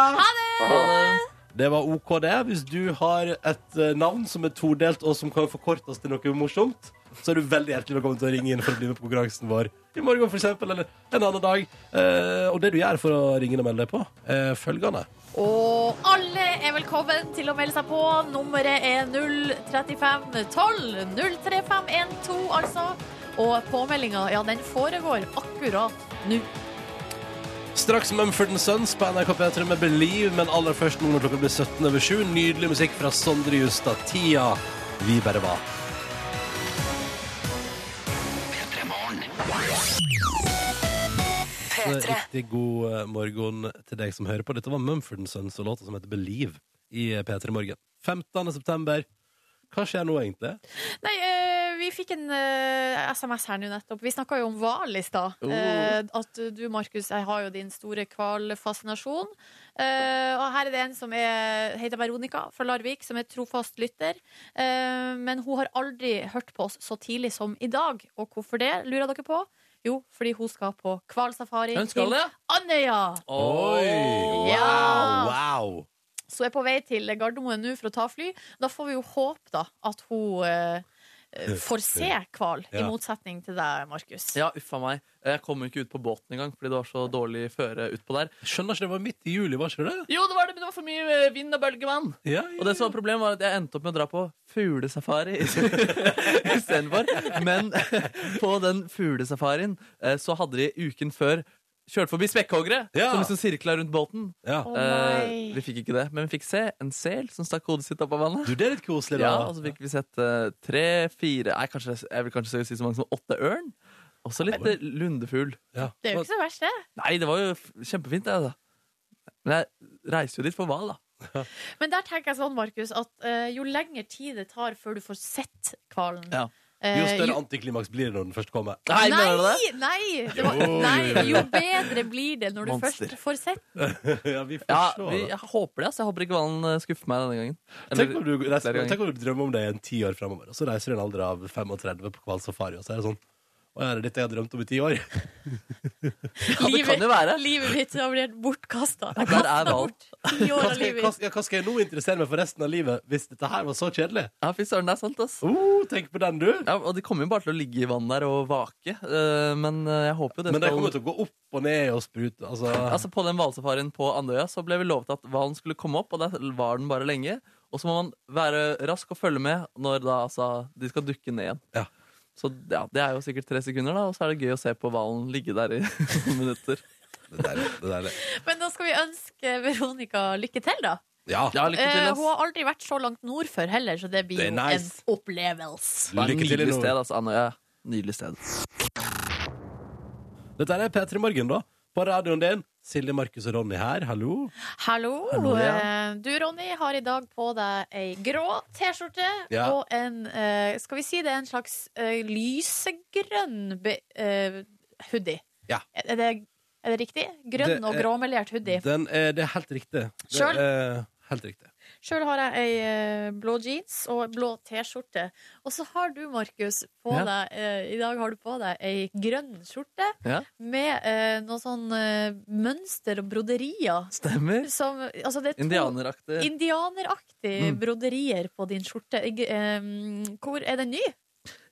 Det var OK, det. Hvis du har et eh, navn som er todelt, og som kan forkortes til noe morsomt, så er du veldig hjertelig velkommen til å ringe inn for å bli med på konkurransen vår i morgen, f.eks., eller en annen dag. Eh, og det du gjør for å ringe inn og melde deg på, er følgende. Og alle er velkommen til å melde seg på. Nummeret er 03512. 03512, altså. Og påmeldinga, ja, den foregår akkurat nå. Straks Mumford Sons på NRK P3 med Believe, men aller først nå når klokka blir 17 over 7. Nydelig musikk fra Sondre Justad. Tida vi bare var. Så Riktig god eh, morgen til deg som hører på. Dette var Mumford Sons og låta som heter Believe i eh, P3 Morgen. 15. september. Hva skjer nå, egentlig? Nei, eh, vi fikk en eh, SMS her nå nettopp. Vi snakka jo om hval i stad. Oh. Eh, at du, Markus, jeg har jo din store hvalfascinasjon. Eh, og her er det en som er, heter Veronica fra Larvik, som er trofast lytter. Eh, men hun har aldri hørt på oss så tidlig som i dag. Og hvorfor det, lurer dere på? Jo, fordi hun skal på hvalsafari Hun skal det? Andøya. Oi! Ja. Wow! Så hun er på vei til Gardermoen nå for å ta fly. Da får vi jo håpe da at hun eh, får se hval, i Ja. motsetning til deg, Markus. Ja, uffa meg. Jeg kom jo ikke ut på båten engang fordi det var så dårlig føre utpå der. Skjønner ikke, det var midt i juli, var ikke det? Jo, det var det, men det var for mye eh, vind og bølgevann. Ja, ja, Og det som var problemet var at jeg endte opp med å dra på fuglesafari [laughs] istedenfor. Men [laughs] på den fuglesafarien eh, så hadde de uken før kjørt forbi spekkhoggere Ja. som liksom sirkla rundt båten. ja. Å Eh, nei. vi fikk ikke det, men vi fikk se en sel som stakk hodet sitt opp av vannet. Du, det er litt koselig, da. Ja, og så fikk vi sett eh, tre, fire Nei, kanskje, jeg vil kanskje si så mange som åtte ørn. Og så litt eh, lundefugl. Ja. Det er jo ikke så verst, det. Nei, det var jo f- kjempefint, det. da Men jeg reiser jo dit for hva, da? Men der tenker jeg sånn, Markus, at eh, jo lengre tid det tar før du får sett hvalen Ja. Jo eh, større antiklimaks blir det når den først kommer. Nei, Nei, mener du det? nei, det var, Jo, nei! jo, jo. Jo bedre blir det når du Monster. først får sett. [laughs] ja, vi får Ja, se, vi, da. jeg håper det. Altså. Jeg håper ikke hvalen eh, skuffer meg denne gangen. Tenk om, du, reiser, flere ganger. tenk om du drømmer om det i en ti år fremover og så reiser du i en alder av 35 på hvalsafari, og så er det sånn Å, er det dette jeg har drømt om i ti år? kan Livet, jo være. livet mitt har blitt bortkasta. Jeg Der er kastet hvalen. bort ti år Hva skal, av jeg, livet hva, mitt. ja, hva skal jeg nå interessere meg for resten av livet hvis dette her var så kjedelig? Ja, fy søren, det er sant, ass. Oh, tenk på den, du! Ja, og de kommer jo bare til å ligge i vann der og vake. eh, men eh, jeg håper jo det Men de skal kommer til å gå opp og ned og sprute. Altså, Altså På den hvalsafarien på Andøya Så ble vi lovet at hvalen skulle komme opp, og der var den bare lenge. Og så må man være rask og følge med når da, altså, de skal dukke ned igjen. Ja. Så ja, Det er jo sikkert tre sekunder, da og så er det gøy å se på hvalen ligge der i [laughs] noen minutter. det der, det der. Men da skal vi ønske Veronica lykke til, da. Ja, Ja, lykke til, Eh, ass. hun har aldri vært så langt nord før heller, så det blir Det er jo nice. en opplevelse. Det er et lykke til i nydelig nord. sted, altså, Andøya. Nydelig sted. Dette er P3 Morgen, da. På radioen din. Silje, Markus og Ronny her, hallo. Hallo. Hallo, ja. Eh, Du, Ronny, har i dag på deg ei grå T-skjorte Ja. og en eh, Skal vi si det er en slags eh, lysegrønn be, eh, hoodie? Ja. Er er det, er det riktig? Grønn Det og er- gråmelert hoodie. Den er, det er helt riktig. Det Skjøl. er helt riktig. Sjøl har jeg ei eh, blå jeans og blå T-skjorte. Og så har du, Markus, på Ja. deg eh, I dag har du på deg ei grønn skjorte Ja. med eh, noe sånn eh, mønster og broderier. Stemmer. Som, altså det er to Indianeraktig. Indianeraktig Mm. broderier på din skjorte. Jeg, eh, hvor er den ny?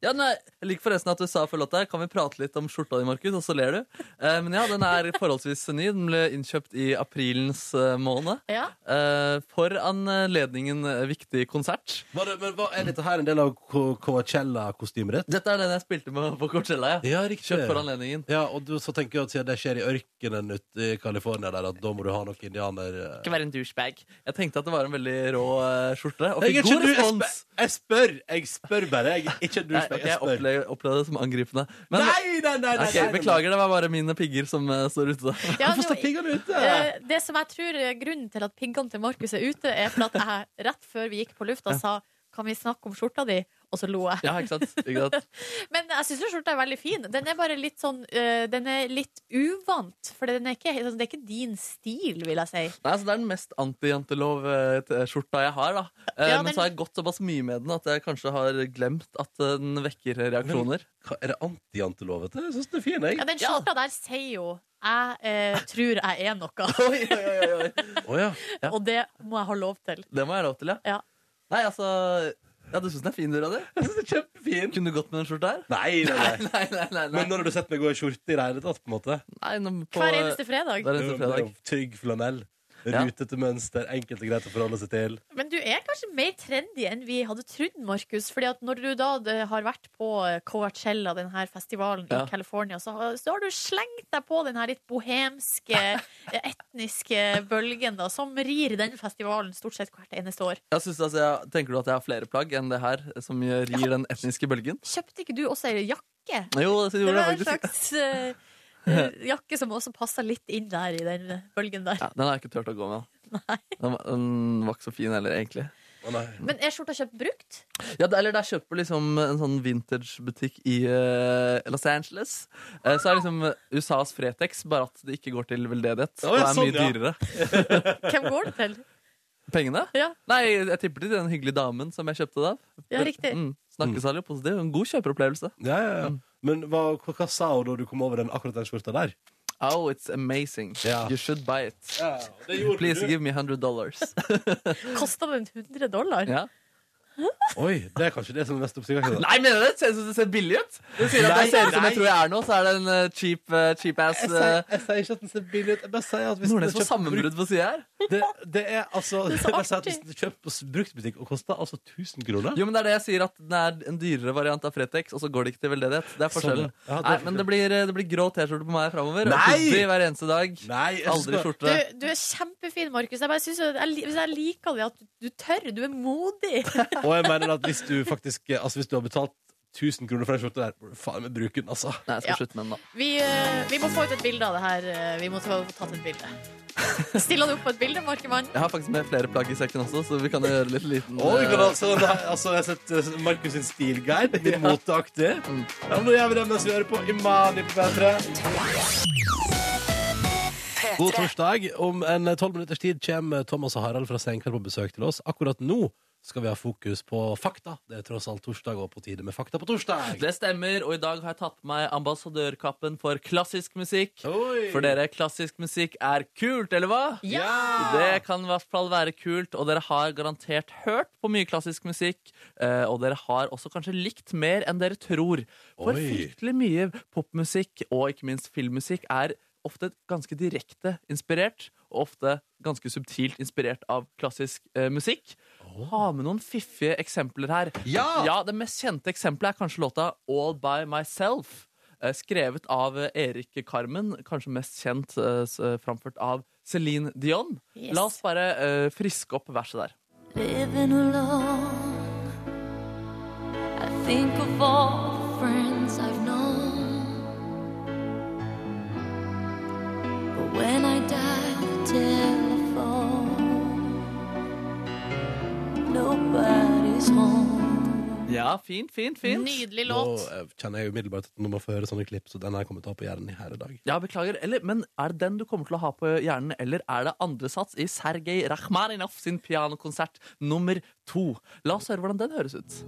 Ja, nei, jeg liker forresten at du sa før låta her, kan vi prate litt om skjorta di, Markus, og så ler du. Eh, men ja, den er forholdsvis ny. Den ble innkjøpt i aprilens eh, måned. Ja. Eh, for anledningen eh, viktig konsert. Var det, men hva, er dette her en del av Ko- Coachella-kostymet ditt? Dette er den jeg spilte med på Coachella, ja. Ja, riktig. Kjøpt for anledningen. Ja, og du, så tenker jeg at siden det skjer i ørkenen ute i California, der, at da må du ha noen indianer... eh. Ikke være en douchebag. Jeg tenkte at det var en veldig rå eh, skjorte, og Jeg er fikk ikke god du, jeg respons. spør, jeg spør, jeg spør bare, jeg er ikke du, Nei, spør, ok, jeg jeg spør. opplevde, opplevde det som angripende. Nei, Men, nei, nei, nei, nei, Ok, nei, nei. Beklager, det var bare mine pigger som eh, står ute. Ja, Hvorfor står det- piggene ute? Eh, Det som jeg tror er grunnen til at piggene til Markus er ute, er for at jeg rett før vi gikk på lufta sa kan vi snakke om skjorta di? Og så lo jeg. Ja, ikke sant? Ikke sant? Men jeg syns skjorta er veldig fin. Den er bare litt sånn eh, Den er litt uvant. For den er ikke, altså, det er ikke din stil, vil jeg si. Nei, altså, Det er den mest anti-jantelov-skjorta jeg har. da Eh, Ja, Men den- så har jeg gått såpass mye med den at jeg kanskje har glemt at eh, den vekker reaksjoner. Hva, er det anti-jantelovete? Jeg synes det er fin, jeg. Ja, den skjorta der sier jo jeg [laughs] eh, tror jeg er noe, Oi, oi, oi, oi, oi. Åja. Ja. [laughs] og det må jeg ha lov til. Det må jeg ha lov til, ja. Ja. Nei, altså Ja, Du syns den er fin, du, Radi? Jeg synes det er kjempefin. Kunne du gått med den skjorta her? Nei, nei, nei. Nei, nei, nei. nei. Men når har du sett meg gå i skjorte i det hele tatt, på en måte? nei nå på, Hver eneste fredag. Hver Det er eneste jo- det er fredag. jo Tygg flanell. Ja. Rutete mønster, enkelt og greit å forholde seg til. Men du er kanskje mer trendy enn vi hadde trodd, Markus. Fordi at når du da eh, har vært på eh, Coachella, den her festivalen Ja. i California, så, har- så har du slengt deg på den her litt bohemske, [laughs] eh, etniske bølgen da, som rir den festivalen stort sett hvert eneste år. Jeg synes, altså, jeg, tenker du at jeg har flere plagg enn det her, som gir den etniske bølgen? Kjøpte ikke du også ei jakke? Jo, det Det gjorde var jeg en faktisk. slags eh, eh, jakke som også passa litt inn der i den eh, bølgen der. Ja, den har jeg ikke turt å gå med. Den, var- den var ikke så fin heller, egentlig. Å nei. Men er skjorta kjøpt brukt? Ja, det, eller der kjøper jeg liksom en sånn vintagebutikk i eh, Los Angeles. Eh, så er det liksom USAs Fretex, bare at det ikke går til veldedighet. Å, Og ja, er mye sånn, dyrere. Hvem går det til? Pengene? Ja, Nei, jeg tipper til den hyggelige damen som jeg kjøpte det av. ja riktig. Mm, Snakkesalig og positiv. En god kjøperopplevelse. Ja, ja, ja. Mm. Men hva, hva, hva sa hun da du kom over den, akkurat den skjorta der? Oh, it's amazing. Ja. You should buy it. Ja, det gjorde Please give me 100 dollars. Kosta den 100 dollar? [laughs] ja. Oi, det er kanskje det som er mest oppsiktsvekkende. Nei, mener du det? Jeg synes det ser billig ut. Du sier at Nei, jeg ser ut som nei. jeg tror jeg er nå, så er det en eh, cheap, eh, cheap ass Jeg sier, jeg sier ikke at den ser billig ut. Jeg bare sier at hvis den er Nordnes kjøpt får brukt- sammenbrudd på sida her. det, det er altså Det er [laughs] Jeg så sier at hvis artig. den er kjøpt på s- bruktbutikk og koster altså 1000 kroner Jo, men det er det jeg sier, at den er en dyrere variant av Fretex, og så går det ikke til veldedighet. Det Sånn, er forskjellen. ja. Ja, det er Nei, forskjell. men det blir, eh, det blir grå T-skjorte på meg framover. Nei! hver eneste dag. Nei, jeg Aldri synes skjorte. Du, du er kjempefin, Markus. Jeg, bare synes at jeg, li- hvis jeg liker det at du, du tør. Du er modig. bare- Og jeg mener at hvis du faktisk eh, Altså hvis du har betalt 1000 kroner for den skjorta der, må du faen meg bruke den, altså. Nei, jeg skal Ja. slutte med den, da. Vi, eh, vi må få ut et bilde av det her. eh, Vi må få få tatt et bilde. Stiller du opp på et bilde, Markemann? Jeg har faktisk med flere plagg i sekken også, så vi kan jo gjøre litt liten Oi, eh, men altså, det er- altså, jeg har sett eh, Markus sin stilguide. Litt moteaktig. Ja, men nå gjør vi det mens vi hører på Imani på P3. God torsdag. Om en eh, tolv minutters tid kommer Thomas og Harald fra Senkveld på besøk til oss. Akkurat nå skal vi ha fokus på fakta. Det er tross alt torsdag og på tide med Fakta på torsdag. Det stemmer, og i dag har jeg tatt på meg ambassadørkappen for klassisk musikk. Oi. For dere, klassisk musikk er kult, eller hva? Det kan i hvert fall være kult, og dere har garantert hørt på mye klassisk musikk. eh, Og dere har også kanskje likt mer enn dere tror. For Oi. fryktelig mye popmusikk, og ikke minst filmmusikk, er ofte ganske direkte inspirert, og ofte ganske subtilt inspirert av klassisk eh, musikk. Ha med noen fiffige eksempler her. Ja! Det mest kjente eksempelet er kanskje låta All By Myself. eh, Skrevet av eh, Erik Carmen, kanskje mest kjent eh, s- eh, framført av Celine Dion. Yes. La oss bare eh, friske opp verset der. Living alone, I think of all the friends I've known. But when I dial the telephone, nobody's home. Ja, fint, fint, fint. Nydelig Nå låt. eh, kjenner jeg umiddelbart at nå må jeg få høre sånne klipp, så den har jeg kommet til å ha på hjernen i her i dag. Ja, beklager. Eller, men er det den du kommer til å ha på hjernen, eller er det andre sats i Sergej Rakhmaninov sin pianokonsert nummer to? La oss høre hvordan den høres ut.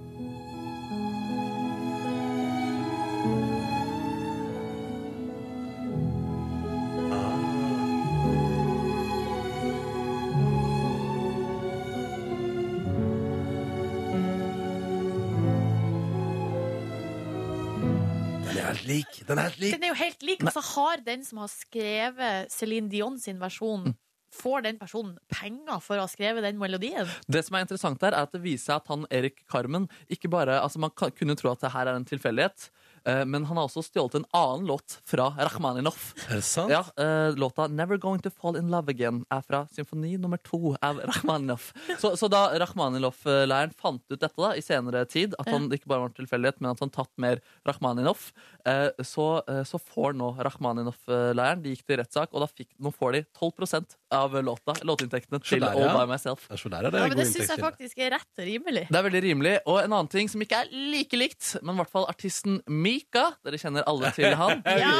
lik. Den er helt lik. Den er jo helt lik. Altså, har den som har skrevet Céline Dion sin versjon, får den personen penger for å ha skrevet den melodien? Det som er interessant der, er at det viser seg at han Erik Carmen ikke bare, altså Man kan, kunne tro at det her er en tilfeldighet, eh, men han har også stjålet en annen låt fra Rachmaninoff. Er det sant? Ja, eh, Låta 'Never Going To Fall In Love Again' er fra symfoni nummer to av [laughs] Rachmaninoff. Så, så da Rachmaninoff-læreren fant ut dette da, i senere tid, at han ikke bare var en tilfeldighet, men at han tatt mer Rachmaninoff, eh, så, eh, så får nå Rachmaninoff-læreren De gikk til rettssak, og da fikk, nå får de 12 av låta, låtinntektene til der, All ja. By Myself. Ja, så der er det Ja, men god Det syns jeg inntektskilde. faktisk er rett og rimelig. Det er veldig rimelig. Og en annen ting som ikke er like likt, men i hvert fall artisten Mika. Dere kjenner alle til han. Ja.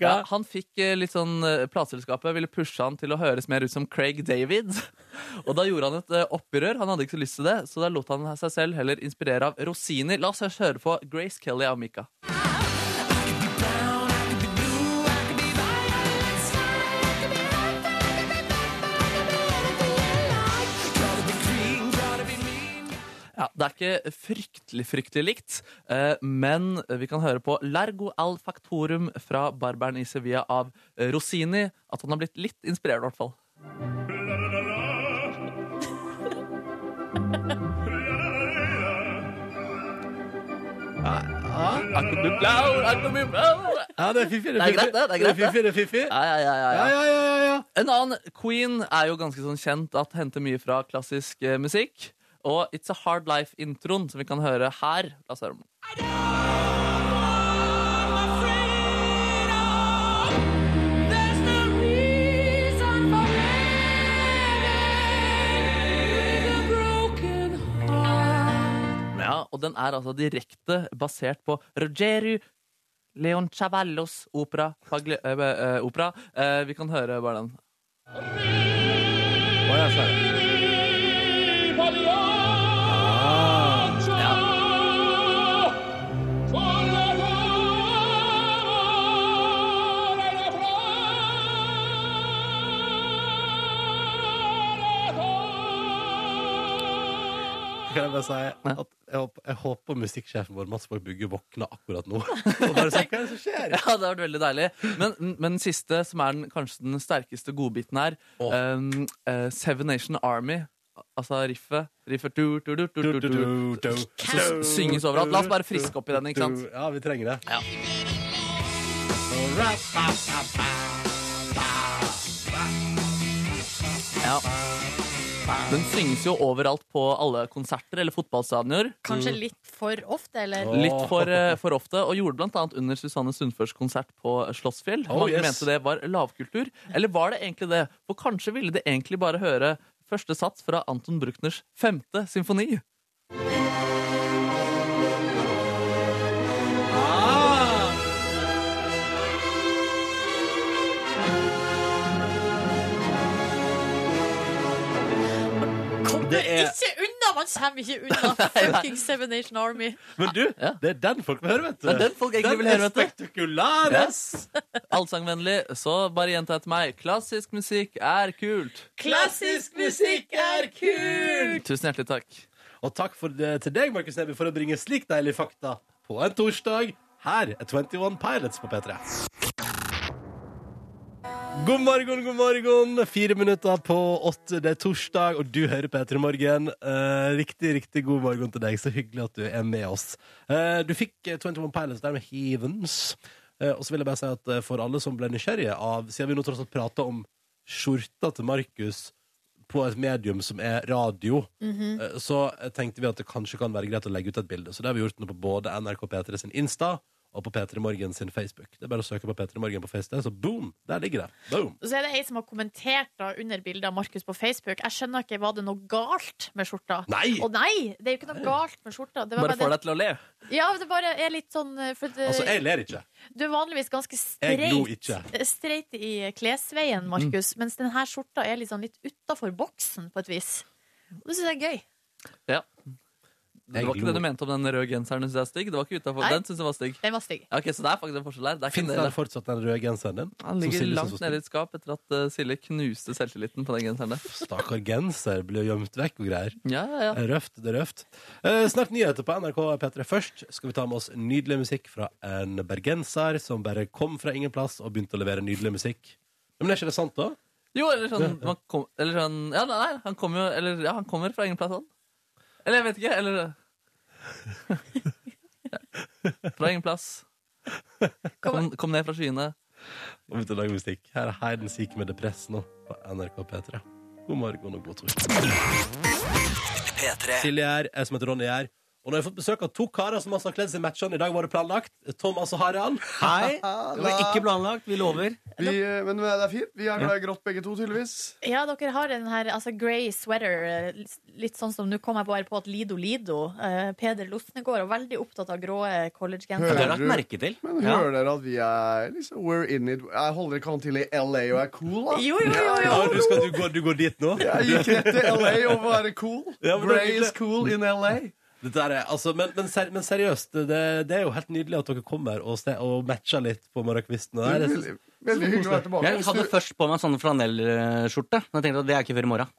Ja, han fikk eh, litt sånn eh, Plateselskapet ville pushe han til å høres mer ut som Craig David. [laughs] Og da gjorde han et eh, opprør. Han hadde ikke så lyst til det, så da lot han seg selv heller inspirere av rosiner. La oss først høre på Grace Kelly av Mika. Ja, Det er ikke fryktelig fryktelig likt, eh, men vi kan høre på Largo al factorum fra barberen i Sevilla av eh, Rossini. At han har blitt litt inspirert, i hvert fall. Ja, ja, Ja, det er fiffig. Det er greit, det. Det er greit, fiffig, det er fiffig. ja, ja, Ja, ja. ja, ja, ja, ja. En annen queen er jo ganske sånn kjent at henter mye fra klassisk eh, musikk. Og It's a Hard Life-introen, som vi kan høre her. La oss høre om den. Ja, og den er altså direkte basert på Rogerio Leon Chavallos opera. Pagli, eh, eh, opera. Eh, vi kan høre bare den. Å, ja, så er det. Kan jeg bare si at jeg håper, jeg håper musikksjefen vår, Mats Borg Bugge, våkner akkurat [laughs] nå. Og bare sier hva er det som skjer? Ja, det har vært veldig deilig. Men, men den siste, som er den, kanskje den sterkeste godbiten her, Åh. um, eh, Seven Nation Army. Altså riffet. Riffet du, du, du, du, du, du, Som synges overalt. La oss bare friske opp i den, ikke sant? Ja, vi trenger det. Ja. Ja. Den synges jo overalt på alle konserter eller fotballstadioner. Kanskje litt for ofte, eller? Åh. Litt for, eh, for ofte, og gjorde blant annet under Susanne Sundførs konsert på eh, Slottsfjell. Oh, Mange yes. mente det var lavkultur. Eller var det egentlig det? For kanskje ville de egentlig bare høre første sats fra Anton Bruckners femte symfoni. Ah! Det er Ikke unna! Man kommer ikke [laughs] unna fucking Seven Nation Army. Men du, Ja. det er den folk vil høre, vet du. Det er den folk egentlig vil høre, vet du. er spektakulær, ass! Allsangvennlig, så bare gjenta etter meg. Klassisk musikk er kult. Klassisk musikk er kult! Tusen hjertelig takk. Og takk for det, til deg, Markus Neby, for å bringe slik deilig fakta på en torsdag. Her er 21 Pilots på P3. God morgen, god morgen. Fire minutter på åtte. Det er torsdag, og du hører P3 Morgen. Eh, riktig, riktig god morgen til deg. Så hyggelig at du er med oss. Eh, du fikk eh, 21 Pilots der med Heavens. Eh, og så vil jeg bare si at eh, for alle som ble nysgjerrige av Siden vi nå tross alt prater om skjorta til Markus på et medium som er radio, eh, så tenkte vi at det kanskje kan være greit å legge ut et bilde. Så det har vi gjort nå på både NRK P3 sin Insta og på P3 Morgen sin Facebook. Det er bare å søke på P3 Morgen på Facebook, så boom! Der ligger det. Boom! Så er det ei som har kommentert da under bildet av Markus på Facebook. Jeg skjønner ikke, var det noe galt med skjorta? Nei! Å nei, det er jo ikke noe galt med skjorta. Det var Bare får bare det, deg til å le. ja, det bare er litt sånn eh, for det, Altså, jeg ler ikke. Eh, Du er vanligvis ganske Jeg lo Mm. streit, eh, streit i klesveien, Markus, mens denne skjorta sånn er liksom litt utafor boksen på et vis. Og det syns jeg er gøy. Ja. Det var ikke glor. det du mente om den røde genseren du synes er stygg? Det var ikke utenfor. Nei. Den synes jeg var stygg. Den var stygg. Ja, ok, Så det er faktisk en forskjell der. Det er ikke Fins det, der fortsatt den røde genseren din? Han ligger Silje langt synes var nede i et skap etter at eh, Silje knuste selvtilliten på den genseren der. stor. Stakkar genser blir gjemt vekk og greier. Ja, ja, ja. Det er Røft, det er røft. Eh, snart nyheter på NRK P3. Først skal vi ta med oss nydelig musikk fra en bergenser som bare kom fra ingen plass og begynte å levere nydelig musikk. Men er ikke det sant, da? Jo, eller sånn, man kom, eller sånn Ja, nei, nei, han kommer jo Eller ja, han kommer fra ingen plass, han. Eller jeg vet ikke. Eller ja. Fra ingen plass. Kom, kom ned fra skyene. Og begynte å lage musikk. Her er Heiden Sik med Depress nå på NRK P3. God morgen og god torsdag. P3 Silje er, jeg som heter Ronny er. Og nå har jeg fått besøk av to karer som altså har kledd seg matchende. I dag var det planlagt. Thomas og Harald. [laughs] Hei. Det var ikke planlagt. Vi lover. Vi, eh, men det er fint. Vi er glad i grått begge to, tydeligvis. Ja, dere har den her altså, grey sweater, eh, litt sånn som nå kom jeg bare på at Lido Lido, eh, Peder Losnegård, er veldig opptatt av grå eh, Det har collegegensere. Hører jeg lagt du- merke til. Men Ja. hører dere at vi er liksom We're in it. Jeg holder ikke an til i LA og er cool, da. Jo, jo, jo, Ja, jo. du, skal, du, går, du går dit nå? Jeg gikk rett til LA og var cool. Ja, men det er Grey hyggelig. is cool in LA. Dette her er, altså, men, men, ser, men seriøst, det, det er jo helt nydelig at dere kommer og, ste- og matcher litt på morgenkvisten. og det er- Veldig, veldig hyggelig å være tilbake. Jeg hadde først på meg sånn flanellskjorte. Men jeg tenkte at det er ikke før i morgen.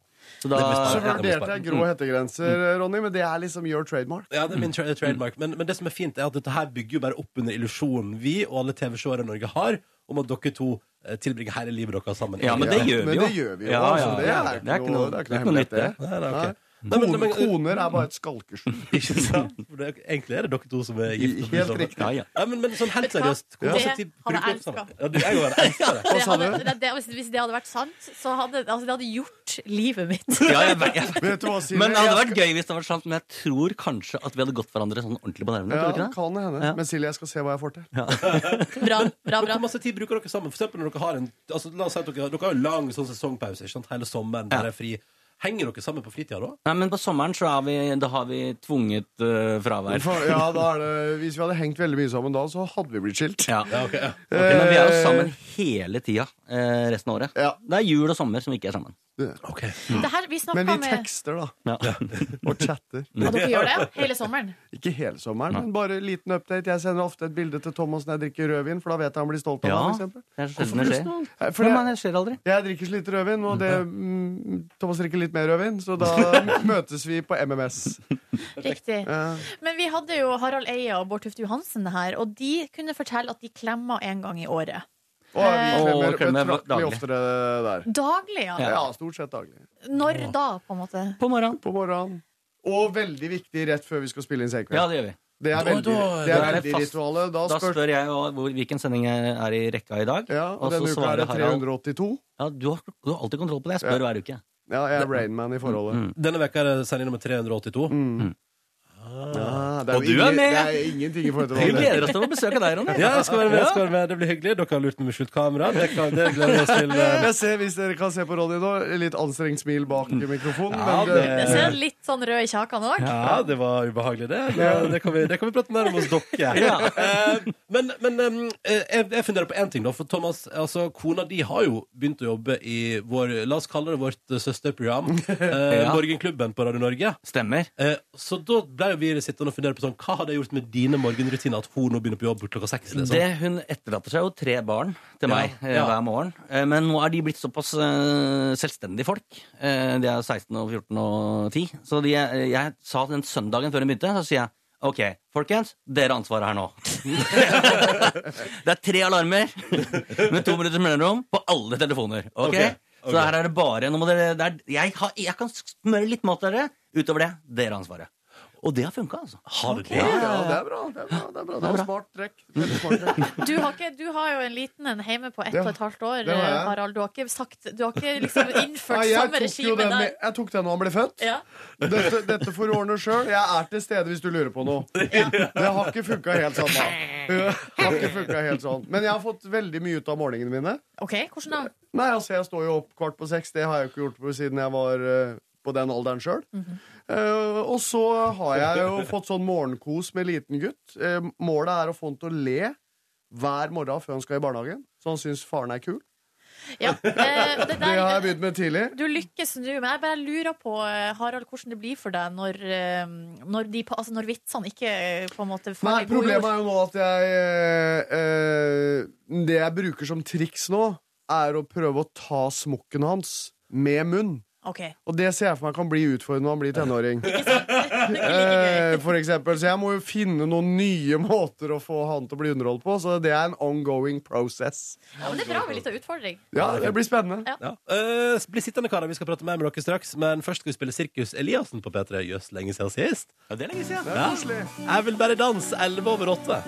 Så da, Så Ja, det må vurderte jeg grå hettegrenser, Ronny, men det er liksom your trademark. Ja, det Mm. er min tra trademark. Men, men det som er fint, er at dette her bygger jo bare opp under illusjonen vi og alle TV-seere i Norge har om at dere to eh, tilbringer hele livet deres sammen. ja, men det gjør vi Men jo. det gjør vi jo. Ja, ja, altså, det, ja. er ikke noe, det er ikke noe nytt, hemmelighet, det. Nei, det. nei, ok. Nei. Nei, men- men- Kone- Koner er bare et skalkeskjul. Ikke sant? For det, er- egentlig er det dere to som er gift. og blir Helt sammen. riktig. Ja, ja. Ja, men, men sånn helt Vet du hva? seriøst. Hvor Ja. masse Det tid hadde bruker dere jeg sammen? Ja, du, jeg òg elsker [laughs] det. Det sa du? hadde, det, det, hvis- hvis det hadde vært sant, så hadde altså, det hadde gjort livet mitt. Ja, jeg, vet- jeg, Vet du hva, Silje? men det hadde Jeg vært gøy hvis det var sant, men jeg tror kanskje at vi hadde gått hverandre sånn ordentlig på nervene. tror du Ja, ikke det? kan det hende. Ja. Men Silje, jeg skal se hva jeg får til. [laughs] Bra, bra, Men bra. Hvor masse tid bruker dere sammen? For eksempel når dere har en altså, La oss si at dere, dere har en lang sånn sesongpause ikke sant? hele sommeren. Ja. Der er fri. Henger dere sammen på fritida da? Nei, men på sommeren så er vi, da har vi tvunget eh, fravær. For, ja, da er det, hvis vi hadde hengt veldig mye sammen da, så hadde vi blitt skilt. Ja. Ja, ok, ja. Ok, men vi er jo sammen hele tida eh, resten av året. Ja. Det er jul og sommer som ikke er sammen. Ok. Mm. Det her, vi snakka Men vi med tekster, da. Ja. [laughs] Og chatter. ja, Dere gjør det hele sommeren? Ikke hele sommeren, men bare en liten update. Jeg sender ofte et bilde til Thomas når jeg drikker rødvin, for da vet jeg han blir stolt av Ja, meg. for eksempel. det er så sjelden det skjer. Eh, For For jeg, det skjer aldri. jeg drikker så lite rødvin, og det, mm, Thomas drikker litt mer rødvin, så [laughs] da møtes vi på MMS. Riktig. Eh, Men vi hadde jo Harald Eia og Bård Tufte Johansen her, og de kunne fortelle at de klemmer en gang i året. og vi Eh, klemmer Å, klemmer betraktelig daglig. oftere der. Daglig, ja. Ja, stort sett daglig. Når da, på en måte? På morgenen. På morgenen. Og veldig viktig rett før vi skal spille inn Ja, Senkveld. det gjør vi. Det er Da- veldig, da- det er da er det veldig fast. ritualet. Da Da spør spør jeg jo hvor, hvilken sending er i rekka i dag. Ja, og og så denne uka er svarer det Harald 382. ja, du, har, du har alltid kontroll på det. Jeg spør hver uke. Ja, jeg er Rainman i forholdet. Denne veka er det sending nummer 382. Ja, det er Og jo du er ingen- med! Det er ingenting i forhold til Vi det. gleder oss til å besøke deg, Ronny. Ja, jeg skal være med, jeg skal være med. Det blir hyggelig. Dere har lurt meg med skjult kamera. Det, kan, det gleder vi oss til. eh. Jeg ser, hvis dere kan se på Ronny nå, litt anstrengt smil bak i mikrofonen. Ja, men eh, det, Det ser litt sånn rød i kjakene òg. Ja, det var ubehagelig, det. Det, det, kan, vi, det kan vi prate mer om hos dere. Ja. Eh, Men, men eh, jeg, jeg funderer på én ting, da. For Thomas, altså, kona di har jo begynt å jobbe i vår La oss kalle det vårt eh, [laughs] søsterprogram. eh, Ja. Morgenklubben på Radio Norge. Stemmer. Eh, Så da ble jo vi sittende og fundere på sånn Hva hadde jeg gjort med dine morgenrutiner at hun nå begynner på jobb klokka seks? Liksom? Det, hun etterlater seg jo tre barn til Ja, meg eh, ja. hver morgen. Eh, Men nå er de blitt såpass eh, selvstendige folk. Eh, De er 16 og 14 og 10. Så de, eh, jeg sa den søndagen før hun begynte, så sier jeg OK, folkens, dere har ansvaret her nå. [laughs] det er tre alarmer [laughs] med to minutters mellomrom på alle telefoner. ok? Ok, ok. Så her er det bare nå må dere, det er, jeg, har, jeg kan smøre litt mat til dere. Utover det, dere har ansvaret. Og det har funka, altså. Har du det? ja, det er bra. Det er bra, det er bra. Det var smart trekk. Veldig smart trekk. Du har, ikke, du har jo en liten en hjemme på ett Det- og et halvt år, det har jeg. Harald. Du har ikke, sagt, du har ikke [laughs] liksom innført samme Nei, jeg, tok jo regime den, der. med- jeg tok den da han ble født. Ja. Dette, dette får du ordne sjøl. Jeg er til stede hvis du lurer på [laughs] noe. Det har ikke funka helt sånn, da. Det Har ikke funket helt sånn. Men jeg har fått veldig mye ut av morgenene mine. OK, hvordan da? Nei, altså jeg står jo opp kvart på seks. Det har jeg jo ikke gjort på siden jeg var eh, på den alderen sjøl. og så har jeg jo fått sånn morgenkos med liten gutt. Eh, målet er å få han til å le hver morgen før han skal i barnehagen, så han syns faren er kul. [laughs] Ja, eh, og det det, der- har jeg begynt med tidlig. Du lykkes nå, men jeg bare lurer på eh, Harald, hvordan det blir for deg når, eh, når, de, altså når vitsene ikke eh, på en måte Nei, faller i god jord. problemet er jo nå at jeg eh, eh, Det jeg bruker som triks nå, er å prøve å ta smokken hans med munn. Ok. Og det ser jeg for meg kan bli utfordrende når han blir tenåring. Eh, for eksempel, så jeg må jo finne noen nye måter å få han til å bli underholdt på. Så det er en ongoing process. Ja, men det er bra med litt av utfordring. Ja, det blir spennende. Ja. Eh, bli sittende, karer. Vi skal prate mer med dere straks. Men først skal vi spille Sirkus Eliassen på P3. Jøss, lenge siden sist. Ja, det er lenge siden. Det er koselig. Jeg vil bare danse 11 over 8.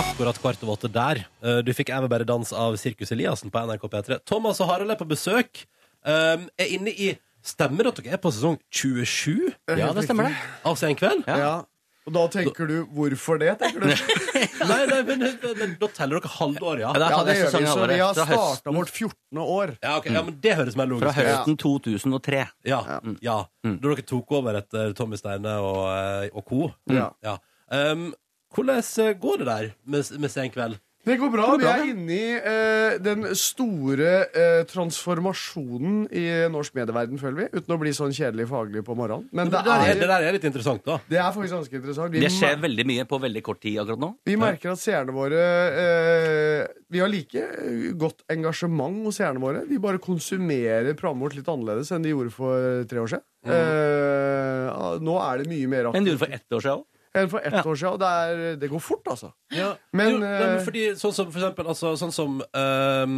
Akkurat kvart over åtte der. Eh, Du fikk Jeg vil bare danse av Sirkus Eliassen på NRK P3. Thomas og Harald er på besøk. Um, er inne i Stemmer at dere er på sesong 27? Det er helt riktig. Altså en kveld? Ja. Og da tenker du 'hvorfor det'? [laughs] tenker du? Nei, nei, men, men, men da teller dere halvår, ja. Ja, det gjør vi, så vi har Fra høsten. starta vårt 14. år. Ja, ok. ja, men Det høres mer Fra logisk ut. høsten 2003. Ja. mm. ja. Da dere tok over etter Tommy Steine og, eh, og co. Ja. Um, hvordan eh, går det der med, med Sen kveld? Det går bra. Det går Vi bra, er det. inne i eh, den store eh, transformasjonen i norsk medieverden, føler vi. Uten å bli sånn kjedelig faglig på morgenen. Men det der, er, det der er litt interessant, da. det er faktisk ganske interessant. Vi Det mer- skjer veldig mye på veldig kort tid akkurat nå. Vi merker at seerne våre eh, Vi har like eh, godt engasjement hos seerne våre. De bare konsumerer programmet vårt litt annerledes enn de gjorde for tre år siden. Mhm. Eh, nå er det mye mer Men du aktivt gjorde for ett år siden òg. enn for ett år siden. Og det, er, det går fort, altså. Ja. Men, jo, nei, men eh, fordi, sånn som for eksempel altså, Sånn som ehm,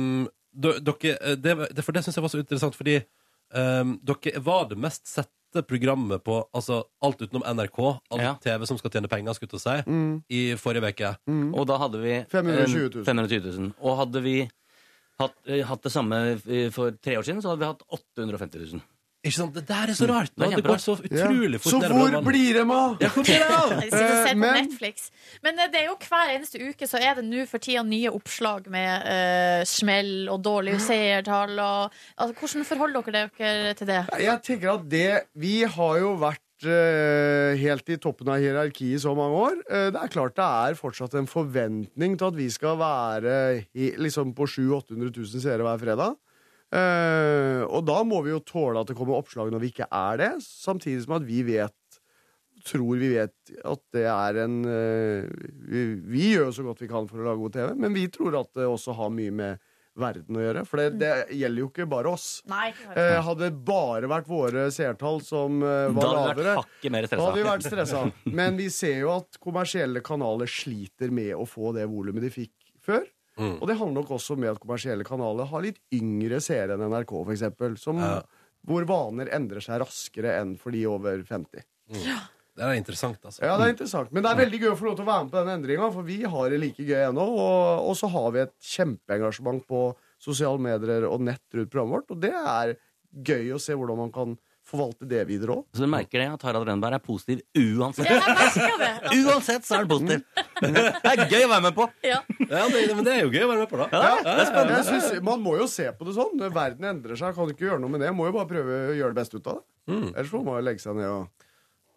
d- dere, eh, det, var- det, For det syns jeg var så interessant, fordi ehm, dere var det mest sette programmet på altså, alt utenom NRK, alt Ja. TV som skal tjene penger, skulle jeg til å si, Mm. i forrige uke. Og da hadde vi eh, 520 000. 520 000. Og hadde vi hatt, eh, hatt det samme eh, for tre år siden, så hadde vi hatt 850 000. Ikke sant? Det der er så rart! Mm. Det er Det, det kjemperart. går så Ja. utrolig fort Så nedover hvor banen. blir det av? Ja, hvor blir det [laughs] av? Jeg sitter og Eh, ser på men- Netflix. Men eh, det er jo hver eneste uke så er det nå for tida nye oppslag med eh, smell og dårlige seertall og altså, Hvordan forholder dere dere til det? Jeg tenker at det Vi har jo vært eh, helt i toppen av hierarkiet i så mange år. Eh, det er klart det er fortsatt en forventning til at vi skal være i, liksom på 700 000-800 000 seere hver fredag. Eh, og da må vi jo tåle at det kommer oppslag når vi ikke er det, samtidig som at vi vet Tror vi vet at det er en eh, vi, vi gjør jo så godt vi kan for å lage god TV, men vi tror at det også har mye med verden å gjøre. For det, det gjelder jo ikke bare oss. Nei, Eh, hadde det bare vært våre seertall som Da eh, var hadde vi lavere, vært hakket mer da hadde vi vært stressa. stressa. Men vi ser jo at kommersielle kanaler sliter med å få det volumet de fikk før. Mm. Og det handler nok også med at kommersielle kanaler har litt yngre seere enn NRK, for eksempel, som, Ja. Hvor vaner endrer seg raskere enn for de over 50. Det er interessant, altså. Ja, det er interessant. Men det er veldig gøy å få lov til å være med på den endringa, for vi har det like gøy ennå. Og, og så har vi et kjempeengasjement på sosiale medier og nett rundt programmet vårt, og det er gøy å se hvordan man kan forvalte det videre òg. Så du merker det at Harald Rønberg er positiv uansett. Ja, jeg merker det. [laughs] Uansett så er han positiv! Mm. Det er gøy å være med på! Ja. Ja, det, men det er jo gøy å være med på, da. Jeg synes, man må jo se på det sånn. Verden endrer seg, kan ikke gjøre noe med det. Må jo bare prøve å gjøre det beste ut av det. Ellers må man jo legge seg ned og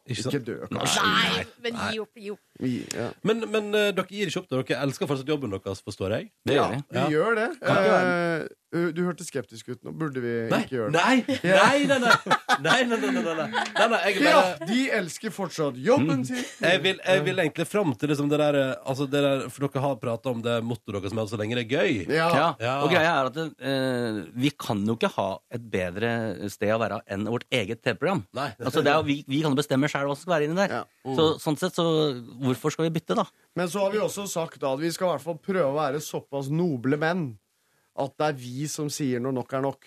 Mm. Ikke sant? ikke dø, kanskje. Nei, men gi opp, gi opp. Vi- Ja. Men, men eh, dere gir ikke opp. da. Dere elsker fortsatt jobben deres, forstår jeg. Det gjør vi. Vi Ja. gjør det. Kan ikke være- Eh, du hørte skeptisk ut nå. Burde vi Nei, ikke gjøre det? nei, nei, nei, nei, nei, nei, nei, nei, nei, nei, nei jeg, Ja, bare, Mm. de elsker fortsatt jobben sin. jeg, vil, jeg vil egentlig fram til liksom det der, eh, altså det der For dere har prata om det mottoet deres som er 'så lenge det er gøy'. Ja. Ja. Ja. Og greia er at eh, vi kan jo ikke ha et bedre sted å være enn vårt eget TV-program. Nei. Altså, det er jo, vi, vi kan jo bestemme sjøl hva som skal være inni der. Ja. Så sånn sett, så hvorfor skal vi bytte, da? Men så har vi også sagt da, at vi skal i hvert fall prøve å være såpass noble menn at det er vi som sier når nok er nok.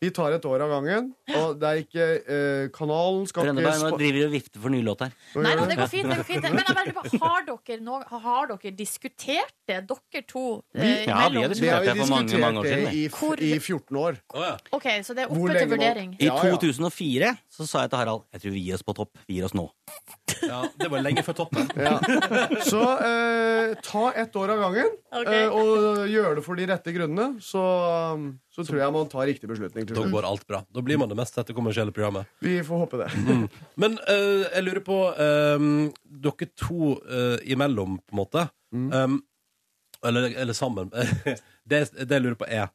Vi tar et år av gangen, og det er ikke eh, Kanalen skal ikke Rønneberg, nå spa- driver du og vifter for ny låt her. Nei, nei, det går fint. det går fint Men jeg bare lurer på, har dere, no, har dere diskutert det, dere to? eh, Ja, vi har mellom- Det diskutert. har vi Det er for mange, diskutert mange år siden, det i, f- Hvor- i 14 [laughs] år. Å, ja. OK, så det er Hvor oppe lenge til var- vurdering. I Ja, ja. 2004 så sa jeg til Harald jeg tror vi gir oss på topp. Vi gir oss nå. ja, Det var lenge før toppen. Ja. Så eh, ta ett år av gangen, Ok. eh, og gjør det for de rette grunnene. Så, um, så tror jeg man tar riktig beslutning til Da slutt. går alt bra. Da blir man det mest sette kommersielle programmet. Vi får håpe det. Men eh, jeg Mm. lurer på eh, Dere to eh, imellom, på en måte. Eh, Eller, eller sammen. [laughs] det, det jeg lurer på, er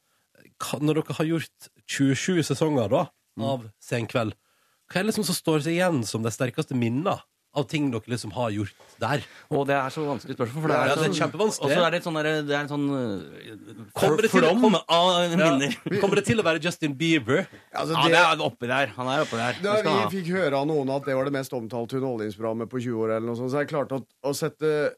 hva- Når dere har gjort 27 sesonger da, Mm. av Sen kveld, hva er det liksom som står seg igjen som de sterkeste minnene av ting dere liksom har gjort der? Og det er så vanskelig spørsmål. For det Ja, er, ja, det er sånn- kjempevanskelig. Og så er det et sånn derre- det er en sånn øh, Kommer det til å- flom kom- av minner. Ja. Kommer det til å være Justin Bieber? Altså, Ja, det- det er oppi der. Han er oppi der. Da Det skal han vi ha. fikk høre av noen at det var det mest omtalte underholdningsprogrammet på 20 år, eller noe sånt, så er det klart at å sette,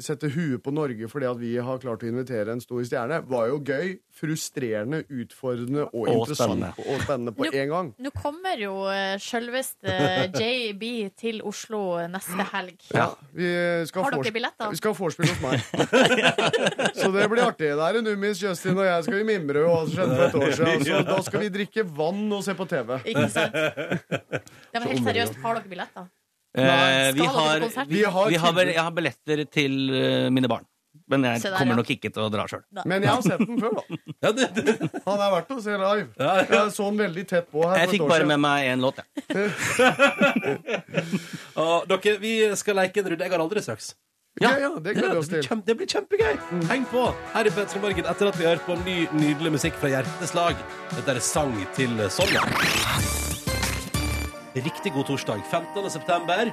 sette huet på Norge fordi at vi har klart å invitere en stor stjerne, var jo gøy, frustrerende, utfordrende og, Og interessant spennende. og spennende på én gang. Nå kommer jo eh, sjølveste JB til Oslo eh, neste helg. Ja, vi skal Har dere vors- billetter? Vi skal ha vorspiel [laughs] hos meg. så det blir artig. Det er en Nummis, Justin og jeg skal i mimre og hva som skjedde for et år [laughs] siden. Så da skal vi drikke vann og se på TV. Ikke sant? Ja, men helt seriøst, har dere billetter? Eh, Skal vi dere på har, konsert? vi, Vi har vi har, vel- tilbud. jeg har billetter til øh, mine barn. Men jeg Se der, ja. kommer nok ikke til å dra sjøl. Men jeg har sett den før, da. Ja, det, det. Han er verdt å se live. Jeg så den veldig tett på her. Jeg for et fikk år bare med siden. meg én låt, jeg. Og dere, vi skal leke en runde. Jeg har aldri straks. Ja, ja, det gleder vi oss blir til. kjempe, det blir kjempegøy! Heng på her i Petter Morgen etter at vi har hørt på ny, nydelig musikk fra Hjerteslag. Dette er sang til Sonja. Riktig god torsdag, 15. september.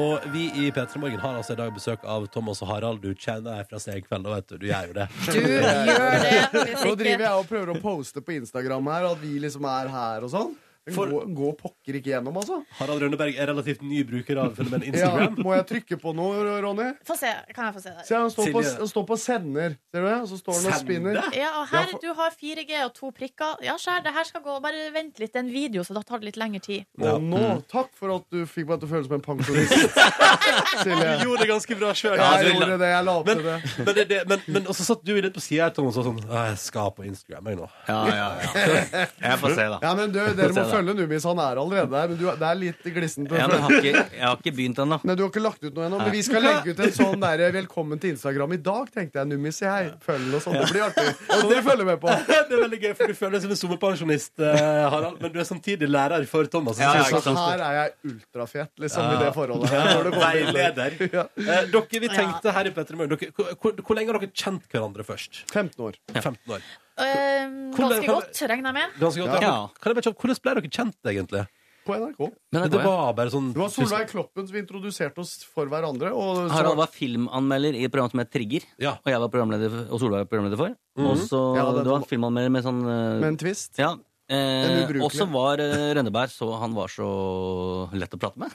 Og vi i P3 Morgen har altså i dag besøk av Thomas og Harald. Du kjenner deg fra Senkveld, og vet du, du gjør jo det. Du gjør det. Hvis Nå driver ikke jeg og prøver å poste på Instagram her at vi liksom er her og sånn. Den For- går, går pokker ikke gjennom, altså. Harald Rønneberg er relativt ny bruker av filmen Ja, Instagram. må jeg trykke på noe, Ronny? Få se. Kan jeg få se der? Se, han står på, Silje. han står på sender. Ser du det? Og så står han og spinner. Sende? Ja, og Ja, her for- du har 4G og to prikker. Ja, skjær, det her skal gå. Bare vent litt. Det er en video, så da tar det litt lengre tid. Ja. Og nå, takk for at du fikk meg til å føle som en pensjonist. Silje. Du gjorde det ganske bra sjøl. Ja, jeg gjorde det. Jeg la opp Men, til det. men, det, det, men, men også satt du litt på sida her, Thomas, og sånn «Å, Jeg skal på Instagram, jeg nå. Ja, ja, ja. [laughs] Jeg får se, da. Ja, men du, Dere må følge Numis. Han er allerede der. Men du, det er litt glissent. Ja, men jeg, har ikke, jeg har ikke begynt ennå. Nei, Du har ikke lagt ut noe ennå, men vi skal legge ut en sånn der, 'Velkommen til Instagram' i dag, tenkte jeg. Nummi, si hei. Følg oss, og sånn. det blir artig. Og det følger med på. Det er veldig gøy, for du føler deg som en sommerpensjonist, eh, Harald, men du er samtidig lærer for Thomas. Ja, ja, Så- sånn, ikke Så sant. her er jeg ultrafet, liksom, i det forholdet. her når det kommer til Instagram. Veileder. Eh, dere, vi tenkte her i Petter Møller, dere, hvor, hvor, hvor lenge har dere kjent hverandre først? 15 år. 15 år. Ehm, Hvordan- ganske godt, regner jeg med. Ganske godt. Ja. Kan jeg bare, kjapt- hvordan ble dere kjent, egentlig? På NRK. Men det det går, ja. var bare sånn Det var Solveig Kloppen som introduserte oss for hverandre. Og så, Harald var filmanmelder i et program som het Trigger. Ja. Og jeg var programleder for, og Solveig var programleder for. Og så Ja, det er Du var sånn- filmanmelder med sånn eh, med en twist. Ja. En Eh, ubrukelig. og så var eh, Rønneberg så Han var så lett å prate med.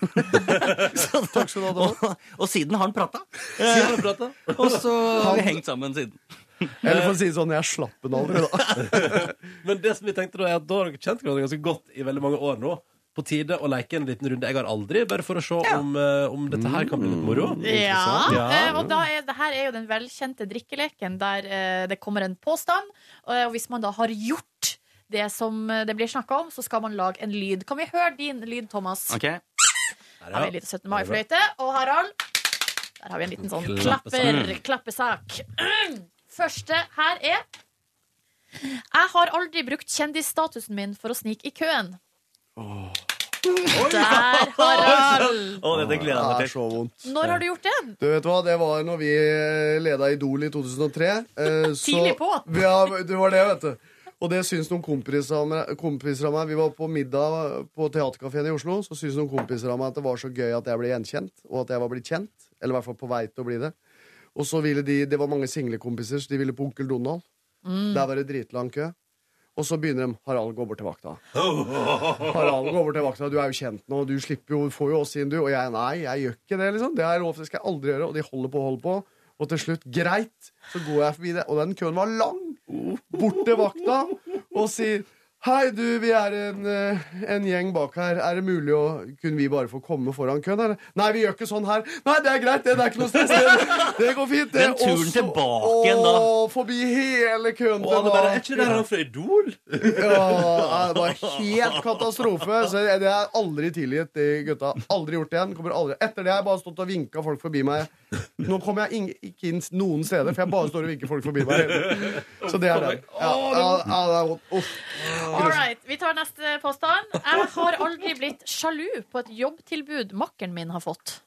så, Takk skal du ha, David. og, [laughs] og siden har han prata. Sier han og prater? [laughs] Og så har vi hengt sammen siden. Eller for å si det sånn, jeg slapp den aldri, da. Men det som vi tenkte da, er at da har dere kjent hverandre ganske godt i veldig mange år nå. På tide å leke en liten runde. Jeg har aldri, bare for å se om, eh, om dette her kan bli litt moro. Ja, Ja. eh, og da er, det her er jo den velkjente drikkeleken der eh, det kommer en påstand, eh, og hvis man da har gjort det som eh, det blir snakka om, så skal man lage en lyd. Kan vi høre din lyd, Thomas? Ok, Her, Her har vi en liten 17. mai-fløyte. Og Harald, der har vi en liten sånn klapper, Klappesak. klappesak. [clears throat] Første her er Jeg har aldri brukt kjendisstatusen min for å snike i køen. Der, Harald! Å, dette gleder jeg Det meg er til. så vondt. Når har du gjort det? Du vet hva, Det var når vi eh, leda Idol i 2003. eh, så- [laughs] Tidlig på. [laughs] Ja, det var det, vet du. Og det syns noen kompiser av meg, kompiser av meg Vi var på middag på Theatercaféen i Oslo. Så syns noen kompiser av meg at det var så gøy at jeg ble gjenkjent, og at jeg var blitt kjent. Eller i hvert fall på vei til å bli det. Og så ville de, Det var mange singlekompiser, så de ville på Onkel Donald. Der var det dritlang kø. Og så begynner de Harald går bort til vakta. Harald går bort til vakta, Du er jo kjent nå, du slipper jo, får jo oss inn, du. Og jeg nei, jeg gjør ikke det. liksom Det har jeg lov til, det skal jeg aldri gjøre. Og de holder på og holder på. Og til slutt, greit, så går jeg forbi det. Og den køen var lang! Bort til vakta og sier Hei, du, vi er en, eh, en gjeng bak her. Er det mulig å Kunne vi bare få komme foran køen? Eller? Nei, vi gjør ikke sånn her. Nei, det er greit, det. Det er ikke noe stress. Det, det går fint. Det. Den turen Og så- tilbake igjen da. Å, forbi hele køen Og alle bare, er ikke det der altså. han fra Idol? ja, det var helt katastrofe. Så jeg- det er aldri tilgitt, de gutta. Aldri gjort det igjen. Kommer aldri. Etter det har jeg bare stått og vinka folk forbi meg. Nå kommer jeg ing- ikke inn noen steder, for jeg bare står og vinker folk forbi meg. hele tiden. Så det er det. Ja, ja, ja, det er vondt. Uff. All right, Vi tar neste påstand. Jeg har aldri blitt sjalu på et jobbtilbud makkeren min har fått.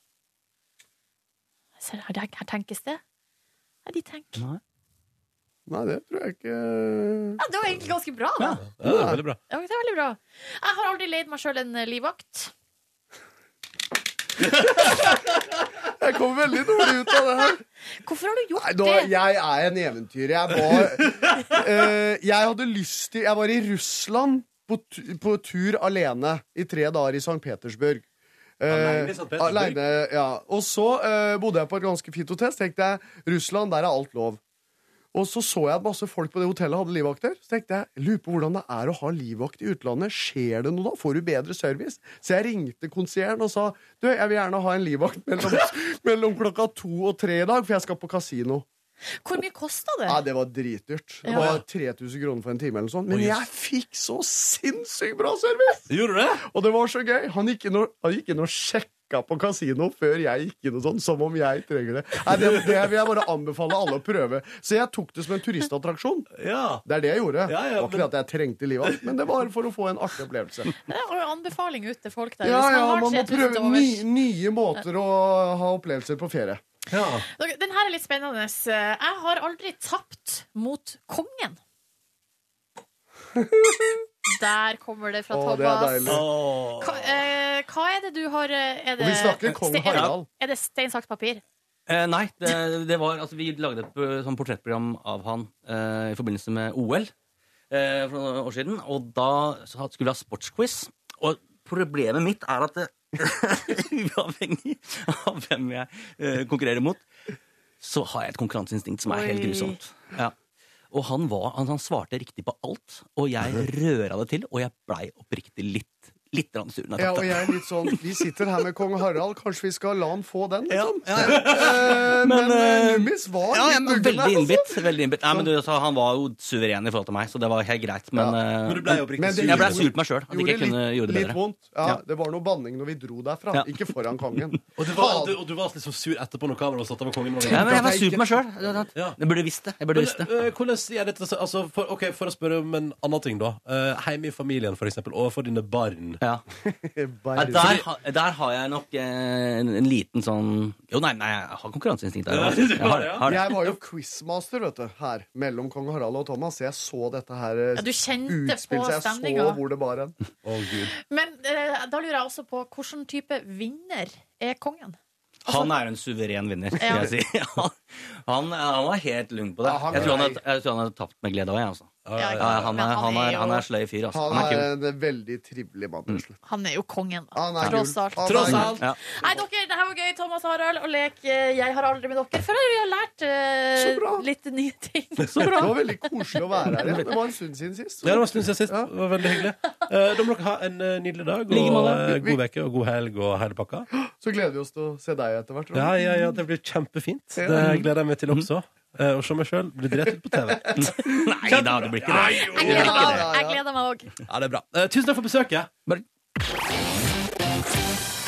Ser, her, her tenkes det. Nei, de tenker. Nei. Nei, det tror jeg ikke Ja, det var egentlig ganske bra, da. Ja, det er veldig bra. Ja, det er veldig bra. Jeg har aldri leid meg sjøl en eh, livvakt. Jeg kom veldig dårlig ut av det her. Hvorfor har du gjort Nei, nå, det? jeg er en eventyr. Jeg var eh, Jeg hadde lyst til Jeg var i Russland på, tu- på tur alene i tre dager i St. Petersburg. Eh, Alene i St. Petersburg? alene, ja. Og så eh, bodde jeg på et ganske fint hotell. Så tenkte jeg Russland, der er alt lov. Og så så jeg at masse folk på det hotellet hadde livvakter. Så tenkte jeg, lurer på hvordan det er å ha livvakt i utlandet. Skjer det noe da? Får du bedre service? Så jeg ringte konsieren og sa du, jeg vil gjerne ha en livvakt mellom, [laughs] mellom klokka to og tre i dag, for jeg skal på kasino. Hvor mye kosta det? Nei, det var dritdyrt. Det Ja. var 3000 kroner for en time eller noe sånt. Men Oi, jøss. jeg fikk så sinnssykt bra service! Gjorde du det? Og det var så gøy. Han gikk inn og, han gikk inn og sjekka på kasino før jeg gikk inn og sånn, som om jeg trenger det. Nei, det, det vil jeg bare anbefale alle å prøve. Så jeg tok det som en turistattraksjon. Ja. Det er det jeg gjorde. Ja, ja, det var ikke men- det at jeg trengte livet, men det var for å få en artig opplevelse. Det er en anbefaling ut til folk der. Ja, hvis ja, har man må 3000 prøve til ny, overs. nye måter å ha opplevelser på ferie. ja. Dere, Den her er litt spennende. Eh, Jeg har aldri tapt mot [laughs] kongen. Der kommer det fra Å, det er Thomas. deilig. Åh. Hva, eh, hva er det du har eh, er Og det, vi snakker kong Ste- er det- Harald. Er det stein, saks, papir? Eh, nei, det, det var, altså, vi lagde et eh, sånn portrettprogram av han eh, i forbindelse med OL eh, for noen år siden. Og da så hadde- skulle vi ha sportsquiz. Og problemet mitt er at det, [laughs] uavhengig av hvem jeg eh, konkurrerer mot, så har jeg et konkurranseinstinkt som er helt Oi. grusomt. Ja. Og han, var, han, han svarte riktig på alt, og Mhm. jeg røra det til, og jeg blei oppriktig litt, litt grann sur. når Ja, jeg og tapte. jeg er litt sånn Vi sitter her med kong Harald, kanskje vi skal la han få den? [laughs] Ja, Liksom? ja, ja. Eh, men Men, eh, eh, Nummis var Ja, ja, litt men uggen veldig der, altså. innbitt. Veldig innbitt. Nei, men du, altså, han var jo suveren i forhold til meg, så det var helt greit. Men, eh, Men du ble jo Men oppriktig det- sur. jeg ble sur på meg sjøl. At ikke jeg Gjorde kunne litt, gjøre det litt bedre. vondt. Ja, Ja. Det var noe banning når vi dro derfra. Ja. Ikke foran [laughs] kongen. Og, det var, du, og du var liksom sur etterpå når kameraet var satt av og kongen. Var Ja, men jeg at var jeg sur på meg sjøl. Ja. Jeg burde visst det. Jeg Men, burde visst det. øh, hvordan er dette så- altså, for, Ok, For å spørre om en annen ting, da. Uh, Hjemme i familien, for eksempel, overfor dine barn. Ja. Nei, Bare- der, ha- der har jeg nok eh, en, en liten sånn Jo, nei, nei, jeg har konkurranseinstinkt der. altså. Jeg har, det, har det. Jeg var jo quizmaster vet du, her mellom kong Harald og Thomas. Jeg så dette her eh, Ja, du kjente utspille på seg. Jeg så stemninga. hvor det bar hen. Å, Gud. Men eh, da lurer jeg også på hvilken type vinner er kongen? Han er en suveren vinner, Ja. skal jeg si. [laughs] Han, han, han var helt lung på det. Ja, han Jeg tror han er- hadde- jeg tror han hadde tapt med glede òg, jeg, altså. Ja, Ja, han, Men er, han, er, jo- han er sløy fyr, altså. Han Han er er kul. en veldig trivelig mann til slutt. Han er jo kongen, da. Han er Tross kul. alt. Han er Tross kul. alt. Ja. Nei, dere, det her var gøy, Thomas og Harald, og lek eh, Jeg har aldri med dere. Før har vi har lært eh, Så bra. litt nye ting. Det var veldig koselig å være her igjen. Det var en stund siden sist. Ja, det var en stund siden sist. Det var veldig hyggelig. Eh, da må dere ha en eh, nydelig dag. Og, Like måte. eh, god uke og god helg og hele pakka. Så gleder vi oss til å se deg etter hvert. Ronny. Ja, ja, ja, det blir kjempefint. Det gleder jeg meg til også. Eh, å se meg sjøl bli drept ut på TV. Nei da, det blir ikke det. Jeg gleder meg Ja, ja, ja. Jeg gleder meg òg. [laughs] Ja, det er bra. Eh, tusen takk for besøket. Bare-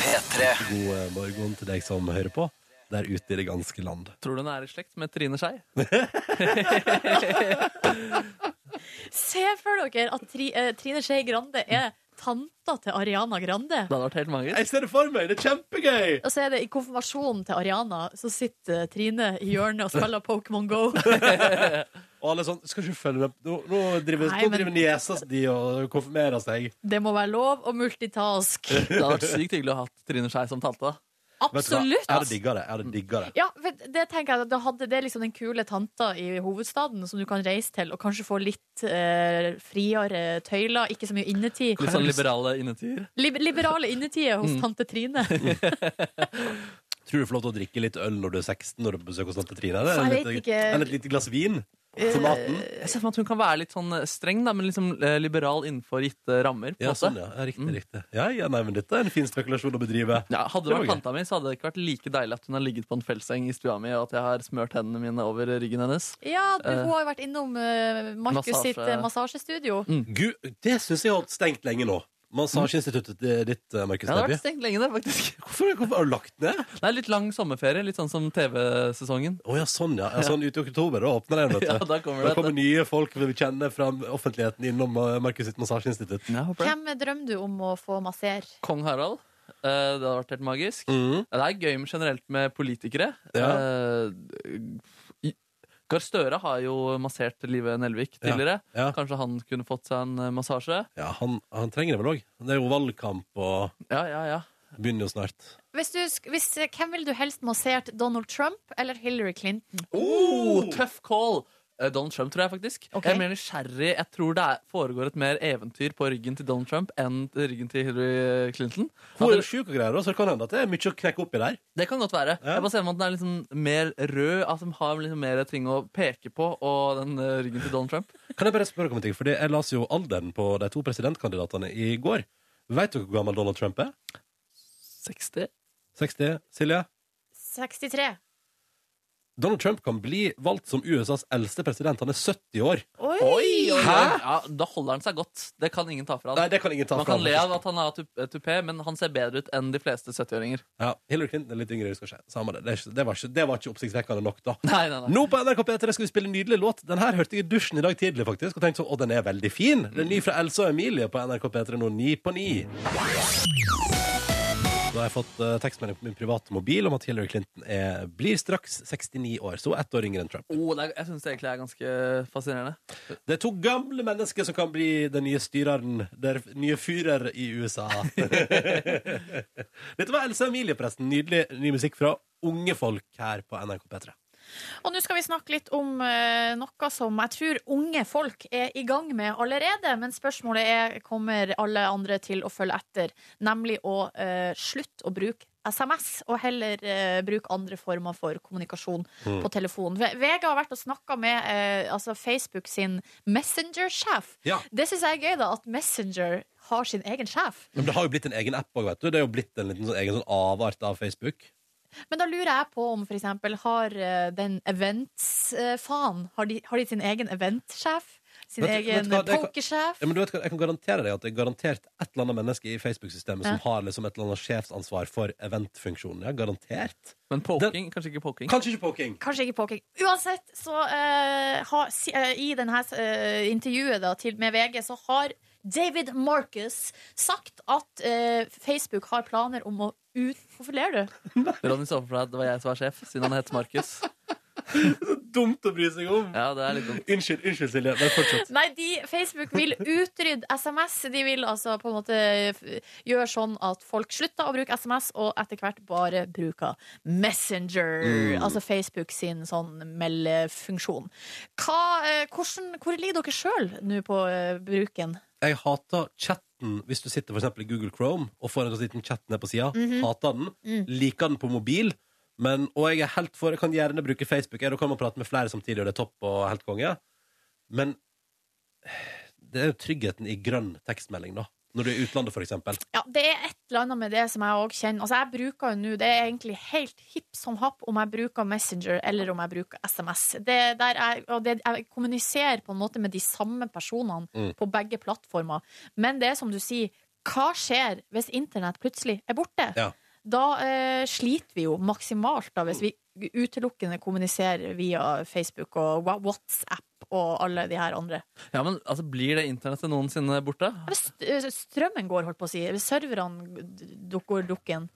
P3. God eh, morgen til deg som hører på der ute i det ganske land. Tror du hun er i slekt med Trine Skei? Se for dere at Tri, eh, Trine Skei Grande er tanta til Ariana Grande. Det hadde vært helt magisk. Jeg ser det for meg! Det er kjempegøy! Og så er det i konfirmasjonen til Ariana, så sitter eh, Trine i hjørnet og spiller Pokémon Go. [laughs] Og alle sånn Skal ikke følge med Nå, nå driver, Nei, nå men- driver niesa di og konfirmerer seg. Det må være lov å multitask. Det hadde vært sykt hyggelig å ha hatt Trine Skei som tante. da. Vet du hva? Absolutt. Jeg hadde digga det. Jeg hadde digga det. Ja, vet, det tenker jeg at da hadde Det er liksom den kule tanta i hovedstaden som du kan reise til og kanskje få litt eh, friere tøyler, ikke så mye innetid. Litt sånn liberale innetider. Lib liberale innetider hos Mm. tante [laughs] Trine. Tror du får lov til å drikke litt øl når du er 16 når du er på besøk hos tante Trine? Eller, Jeg et vet lite- ikke. eller et lite glass vin? Til maten? Jeg ser for meg at hun kan være litt sånn streng, da, men liksom eh, liberal innenfor gitte rammer. på en Ja, måte. sånn, ja. ja Mm. riktig, riktig. Ja, ja, nei, men dette er en fin spekulasjon å bedrive. Ja, hadde det Det var vært gøy. tanta mi, så hadde det ikke vært like deilig at hun har ligget på en feltseng i stua mi, og at jeg har smørt hendene mine over ryggen hennes. Ja, du, hun har jo vært innom eh, Markus Massasje. sitt eh, massasjestudio. Gud, det syns jeg har holdt stengt lenge nå. Massasjeinstituttet di- ditt, eh, Markus Det hadde Neby. vært stengt lenge, det, faktisk. [laughs] Hvorfor, hvorfor har du lagt ned? Det er litt lang sommerferie, litt sånn som TV-sesongen. Å ja, sånn, ja. ja. Sånn ute i oktober, da åpner den, vet [laughs] Ja, du. da kommer Da det. kommer nye folk vi kjenner fra offentligheten innom eh, Markus sitt massasjeinstitutt. Ja, håper det. Hvem drømmer du om å få massere? Kong Harald. eh, Det hadde vært helt magisk. Mhm. Ja, Det er gøy med generelt med politikere. Ja. Eh, i- Gahr Støre har jo massert Live Nelvik tidligere. [laughs] Kanskje han kunne fått seg en eh, massasje? Ja, han, han trenger det vel òg. Det er jo valgkamp og Ja, ja, ja. Begynner jo snart. Hvis du, sk- hvis, eh, hvem vil du helst massert? Donald Trump eller Hillary Clinton? Oh, tøff call! Eh, Donald Trump, tror jeg faktisk. Jeg er mer nysgjerrig. Jeg tror det er, foregår et mer eventyr på ryggen til Donald Trump enn ryggen til Hillary Clinton. Hun er jo sjuk og greier, også, så det kan hende at det er mye å knekke opp i der. Det kan godt være. Jeg bare ser for meg at den er liksom mer rød, at de har liksom mer ting å peke på, og den eh, ryggen til Donald Trump. Kan jeg bare spørre om en ting? Fordi jeg las jo alderen på de to presidentkandidatene i går. Vet du hvor gammel Donald Trump er? 60. 60. Silje? 63. Donald Trump kan bli valgt som USAs eldste president. Han er 70 år. Oi! Hæ? Ja, da holder han seg godt. Det kan ingen ta fra han. Nei, det kan ingen ta Man fra kan han, le av faktisk. at han har tup- eh, tupé, men han ser bedre ut enn de fleste 70-åringer. Ja, Hillary Clinton er litt yngre. Husker jeg. Samme det. Det, er ikke, det, var ikke, det var ikke oppsiktsvekkende nok, da. Nei, nei, nei. Nå på NRK P3 skal vi spille en nydelig låt. Den her hørte jeg i dusjen i dag tidlig, faktisk. Og tenkte sånn, å, den er veldig fin. Den er ny fra Elsa og Emilie på NRK P3 nå, ni på ni. Nå har jeg fått eh, tekstmelding på min private mobil om at Hillary Clinton er, blir straks 69 år. Så hun er ett år yngre enn Trump. Oh, det er, jeg syns det egentlig er ganske fascinerende. Det er to gamle mennesker som kan bli den nye styreren, den nye fyrer i USA. [laughs] Dette var Elsa og Emilie, forresten. Nydelig ny musikk fra unge folk her på NRK P3. Og nå skal vi snakke litt om eh, noe som jeg tror unge folk er i gang med allerede, men spørsmålet er kommer alle andre til å følge etter, nemlig å eh, slutte å bruke SMS, og heller eh, bruke andre former for kommunikasjon Mm. på telefon. Ve- Vega har vært og snakka med eh, altså Facebook sin Messenger-sjef. Ja. Det syns jeg er gøy, da, at Messenger har sin egen sjef. Men det har jo blitt en egen app òg, vet du. Det er jo blitt en liten sånn egen sånn avart av Facebook. Men da lurer jeg på om for eksempel har eh, den events-faen eh, har, de, har de sin egen eventsjef? Sin Vet du- vet egen du hva, det kan- pokersjef? Ja, men du vet, hva, jeg kan garantere deg at det er garantert et eller annet menneske i Facebook-systemet Ja. som har liksom et eller annet sjefsansvar for eventfunksjonen. Ja, garantert. Men poking? kanskje ikke poking? Kanskje ikke poking. Kanskje ikke poking. Uansett, så eh, ha, si, eh, i denne eh, intervjuet da, til, med VG, så har David Marcus sagt at eh, Facebook har planer om å ut... Hvorfor ler du? Ronny så for seg at det var jeg som var sjef, siden han het Markus. Dumt å bry seg om! Ja, det er litt dumt. Unnskyld, unnskyld Silje. Bare fortsett. Nei, de, Facebook vil utrydde SMS. De vil altså på en måte f- gjøre sånn at folk slutter å bruke SMS, og etter hvert bare bruker Messenger. Mm. Altså Facebook sin sånn meldefunksjon. Hva, eh, hvordan, hvor ligger dere sjøl nå på eh, bruken? Jeg hater chatten hvis du sitter for eksempel i Google Chrome og får en sånn liten chat ned på sida. Mhm. Hater den. Mm. Liker den på mobil. Men, og jeg er helt for Jeg kan gjerne bruke Facebook. jeg, Da kan man prate med flere samtidig, og det er topp og helt konge. Men det er jo tryggheten i grønn tekstmelding, da. Når du er i utlandet, for eksempel. Ja, det er et eller annet med det som jeg òg kjenner. Altså, jeg bruker jo nå Det er egentlig helt hipp som happ om jeg bruker Messenger eller om jeg bruker SMS. Det der jeg, og det, jeg kommuniserer på en måte med de samme personene Mm. på begge plattformer. Men det er som du sier, hva skjer hvis internett plutselig er borte? Ja. Da eh, sliter vi jo maksimalt da, hvis vi utelukkende kommuniserer via Facebook og Wa- WhatsApp og alle de her andre. Ja, men altså, Blir det internettet noensinne borte? Ja, hvis st- eh, Strømmen går, holdt på å si. Hvis Serverne d- duk- går dukken.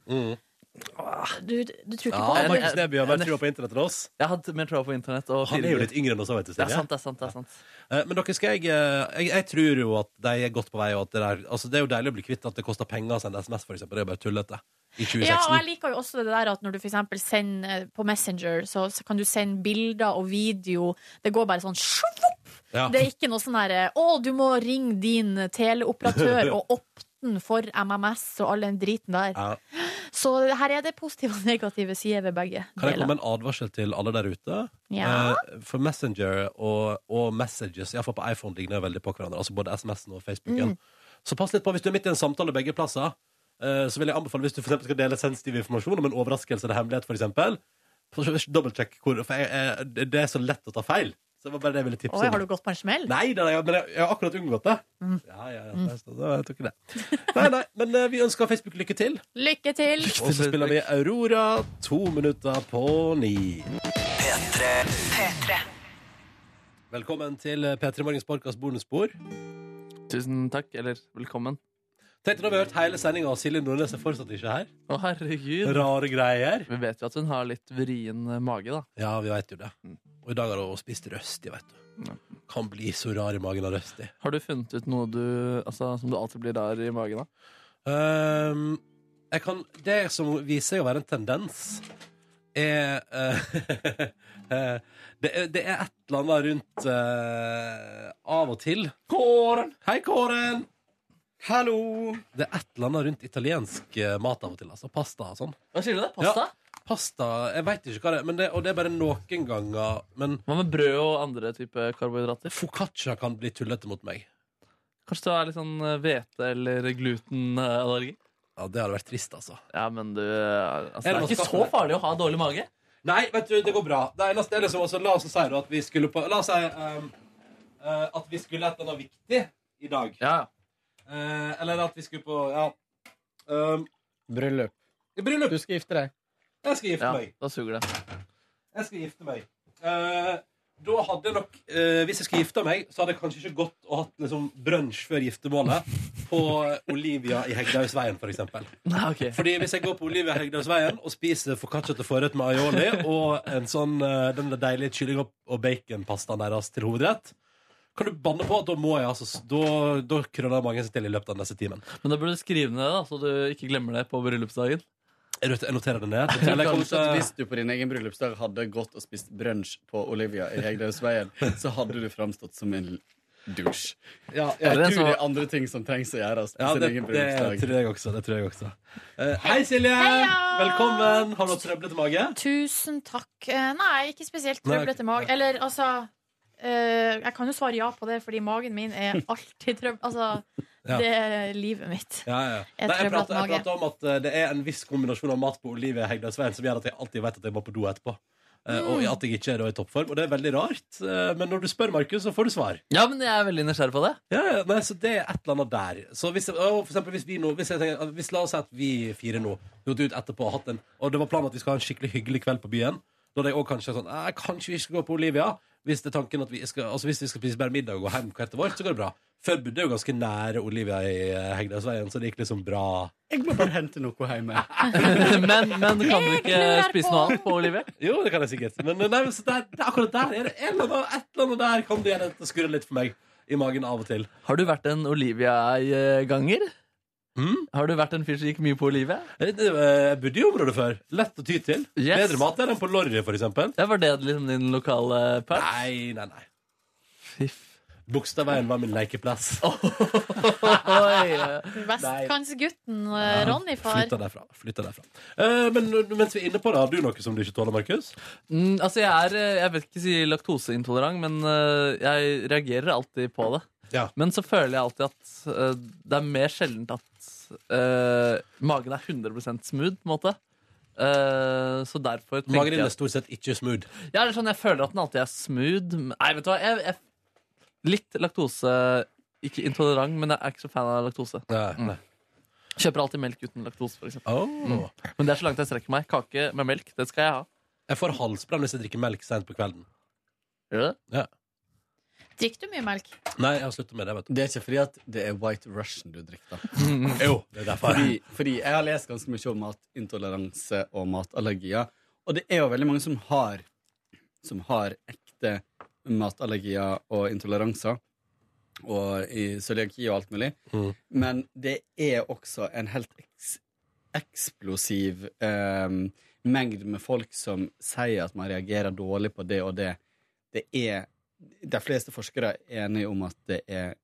Du, du tror ikke på det? Markus Neby har mer trua på internett enn oss. Jeg har hatt mer trua på internett. Og Han er jo litt yngre enn oss òg, vet du. Det er Silje. sant, det er sant. det er sant. Eh, Men dere skal jeg, eh, jeg Jeg tror jo at de er godt på vei. Og at det, der, altså det er jo deilig å bli kvitt at det koster penger å sende SMS, for eksempel. Det er jo bare tullete. I 2016. Ja, og jeg liker jo også det der at når du for eksempel sender eh, på Messenger, så, så kan du sende bilder og video. Det går bare sånn sjovopp! Ja. Det er ikke noe sånn herre Å, du må ringe din [laughs] teleoperatør og oppte den for MMS og all den driten der. Ja. Så her er det positive og [laughs] negative sider ved begge Kan jeg deler. komme med en advarsel til alle der ute? Ja. Eh, for Messenger og, og Messages, iallfall på iPhone, ligner veldig på hverandre. Altså både SMS-en og Facebooken. Mm. Så pass litt på hvis du er midt i en samtale begge plasser. eh, så vil jeg anbefale hvis du for eksempel skal dele sensitiv informasjon om en overraskelse eller hemmelighet, for eksempel. Dobbeltsjekk hvor For jeg, jeg, det- det er så lett å ta feil. Så det var bare det jeg ville tipse Oi, har om. du Mm. gått på en smell? Nei, nei, nei, men jeg, jeg har akkurat unngått det. Ja, ja, ja, da- da tok jeg det. Nei, nei, men eh, vi ønsker Facebook lykke til. Lykke til! Og så spiller vi Aurora to minutter på ni. Velkommen til P3 Morgens podcast bonusspor. Tusen takk, eller velkommen. Tenk deg når vi har hørt hele sendinga, og Silje Nordnes er fortsatt ikke her. Å, herregud. Rare greier. Vi vet jo at hun har litt vrien eh, mage, da. Ja, vi veit jo det. Og i dag har hun spist røsti, veit du. Kan bli så rar i magen av røsti. Har du funnet ut noe du, altså, som du alltid blir rar i magen av? Ehm, jeg kan, det som viser seg å være en tendens, er eh, [laughs] eh, det, er- det er et eller annet rundt eh, av og til Kåren! Hei, Kåren! Hallo! Det er et eller annet rundt italiensk eh, mat av og til. Altså pasta og sånn. Hva sier du det? Pasta? Ja, pasta, Jeg veit ikke hva det er, men det, og det er bare noen ganger. Men Hva med brød og andre type karbohydrater? Foccaccia kan bli tullete mot meg. Kanskje det er litt sånn eh, hvete- eller eh, glutenallergi? Ja, Det hadde vært trist, altså. Ja, men du eh, Er altså, Det det er noe ikke så skatt- farlig å ha dårlig mage. Nei, vet du, det går bra. Det eneste er liksom også, La oss si da at vi skulle på La oss si ehm, eh, at vi skulle et eller annet viktig i dag. Eh, eller at vi skulle på Ja. Um, Bryllup. Bryllup. Du skal gifte deg. jeg skal gifte Ja. meg. Da suger det. Jeg skal gifte meg. Eh, da hadde jeg nok eh, Hvis jeg skulle gifte meg, så hadde jeg kanskje ikke gått og hatt liksom, brunsj før giftermålet på Olivia i Hegdehaugsveien, for eksempel. Fordi hvis jeg går på Olivia Hegdehaugsveien og spiser foccaccia til forrett med aioli og en sånn, eh, den der deilige kylling- og- og baconpastaen deres til hovedrett, kan du banne på at da må jeg altså s- Da, da krøller mange seg til i løpet av den neste timen. Men da burde du skrive ned det, da, så du ikke glemmer det på bryllupsdagen. Jeg noterer det ned. Jeg tror kanskje at Hvis du på din egen bryllupsdag hadde gått og spist brunsj på Olivia i Hegdehaugsveien, så hadde du framstått som en douche. jeg det er tror så- det er andre ting som trengs å gjøres på Ja, sin det, egen det bryllupsdag. tror jeg også. Det tror jeg også. Eh, hei, Silje! Velkommen! Har du hatt trøblete mage? Tusen takk. Eh, Nei, ikke spesielt Nei, trøblete mage. Eller altså eh, Jeg kan jo svare ja på det, fordi magen min [laughs] er alltid trøbbel. Altså, Ja. det er livet mitt. Ja, ja. Jeg Nei, jeg trøblete prater, jeg mage. prater om at eh, det er en viss kombinasjon av mat på Olivia Hegdehaugsveien som gjør at jeg alltid vet at jeg må på do etterpå. Eh, Og Mm. at jeg ikke er da i toppform. Og det er veldig rart. eh, Men når du spør, Markus, så får du svar. Ja, men jeg er veldig nysgjerrig på [laughs] det. Ja, ja, nei, så det er et eller annet der. Så hvis, å, for eksempel, hvis vi nå hvis jeg tenker, hvis La oss si at vi fire nå gått ut etterpå og hatt en Og det var planen at vi skal ha en skikkelig hyggelig kveld på byen. Da hadde jeg også kanskje sånn «Eh, Kanskje vi skal gå på Olivia? Hvis det er tanken at vi skal, altså hvis vi skal spise bare middag og gå hjem hvert vårt, så går det bra. Før bodde jeg jo ganske nære Olivia i eh, Hegdehaugsveien, så det gikk liksom bra. Jeg må bare hente noe hjemme. men, men kan du ikke lurer spise noe annet på Olivia? Jo, det kan jeg sikkert. Men nei, men så der, det er akkurat der er det en eller annen, et eller annet der kan det gjøre at det skurrer litt for meg i magen av og til. Har du vært en Olivia-ganger? Har du vært en fyr som gikk mye på Olivia? Jeg Eh, jeg bodde i området før. Lett å ty til. Yes. Bedre mat der enn på Lorry, for eksempel. Ja, var det liksom din lokale pers? Nei, nei, nei. Bogstadveien var min lekeplass. Vestkantgutten eh, Ronny, far. Flytta derfra. Flytta derfra. Eh, men mens vi er inne på det, har du noe som du ikke tåler, Markus? Mm, altså, jeg er eh, Jeg vet ikke si laktoseintolerant, men eh, jeg reagerer alltid på det. Men så føler jeg alltid at eh, det er mer sjeldent at eh, magen er 100 smooth, på en måte. Eh, så derfor tenker Magen din jeg er stort sett ikke smooth. Ja, eller sånn, jeg føler at den alltid er smooth. men- Nei, vet du hva, jeg, jeg Litt laktose Ikke intolerant, men jeg er ikke så fan av laktose. nei. Kjøper alltid melk uten laktose, for eksempel. Oh. Mm. Men det er så langt jeg strekker meg. Kake med melk, det skal jeg ha. Jeg får halsbrann hvis jeg drikker melk sent på kvelden. Gjør det? Ja. Drikker du mye melk? Nei, jeg har sluttet med det. vet du Det er ikke fordi at det er White Russian du drikker. Mm. Jo, det er derfor. Fordi, fordi jeg har lest ganske mye om matintoleranse og matallergier, og det er jo veldig mange som har, som har ekte matallergier og intoleranser, og i cøliaki og alt mulig. Men det er også en helt eks eksplosiv eh, mengde med folk som sier at man reagerer dårlig på det og det. Det er De fleste forskere er enige om at det er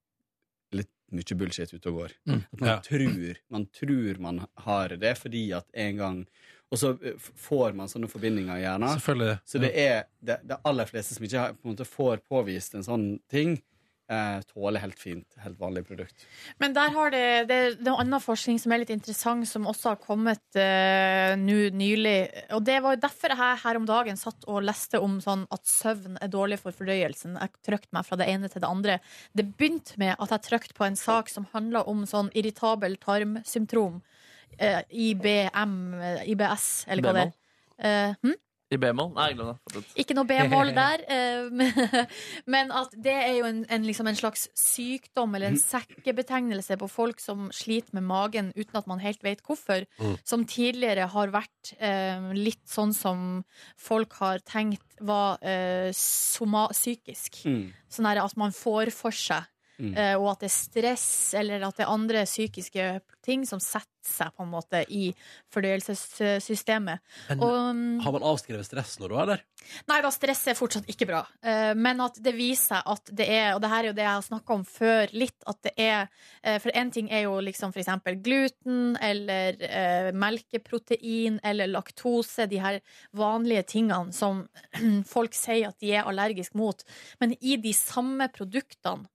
litt mye bullshit ute og går. Mm. At man Ja. tror man tror man har det fordi at en gang Og så eh, f- får man sånne forbindinger i hjernen. Selvfølgelig. Så det er det, det aller fleste som ikke har- på en måte får påvist en sånn ting, eh, tåler helt fint helt vanlig produkt. Men der har det, det er noe annen forskning som er litt interessant, som også har kommet eh, nå nylig. Og det var jo derfor jeg her om dagen satt og leste om sånn at søvn er dårlig for fordøyelsen. Jeg trykte meg fra det ene til det andre. Det begynte med at jeg trykte på en sak som handla om sånn irritabel tarmsymptom. Eh, IBM, eh, IBS, eller hva det er. Eh, hm? I B-mål? Nei, glem det. Ikke noe [laughs] B-mål der. eh, [laughs] men- Men at det er jo en, en, liksom en slags sykdom eller en sekkebetegnelse på folk som sliter med magen uten at man helt vet hvorfor. Mm. Som tidligere har vært eh, litt sånn som folk har tenkt var eh, soma psykisk. Sånn her at man får for seg. Mm. eh, Og at det er stress eller at det er andre psykiske ting som setter seg på en måte i fordøyelsessystemet. Mm. Men Og- mm, har man avskrevet stress når du er der? Nei da, stress er fortsatt ikke bra. Eh, Men at det viser seg at det er, og det her er jo det jeg har snakka om før litt, at det er eh, For én ting er jo liksom for eksempel gluten eller eh, melkeprotein eller laktose, de her vanlige tingene som [clears throat] folk sier at de er allergisk mot. Men i de samme produktene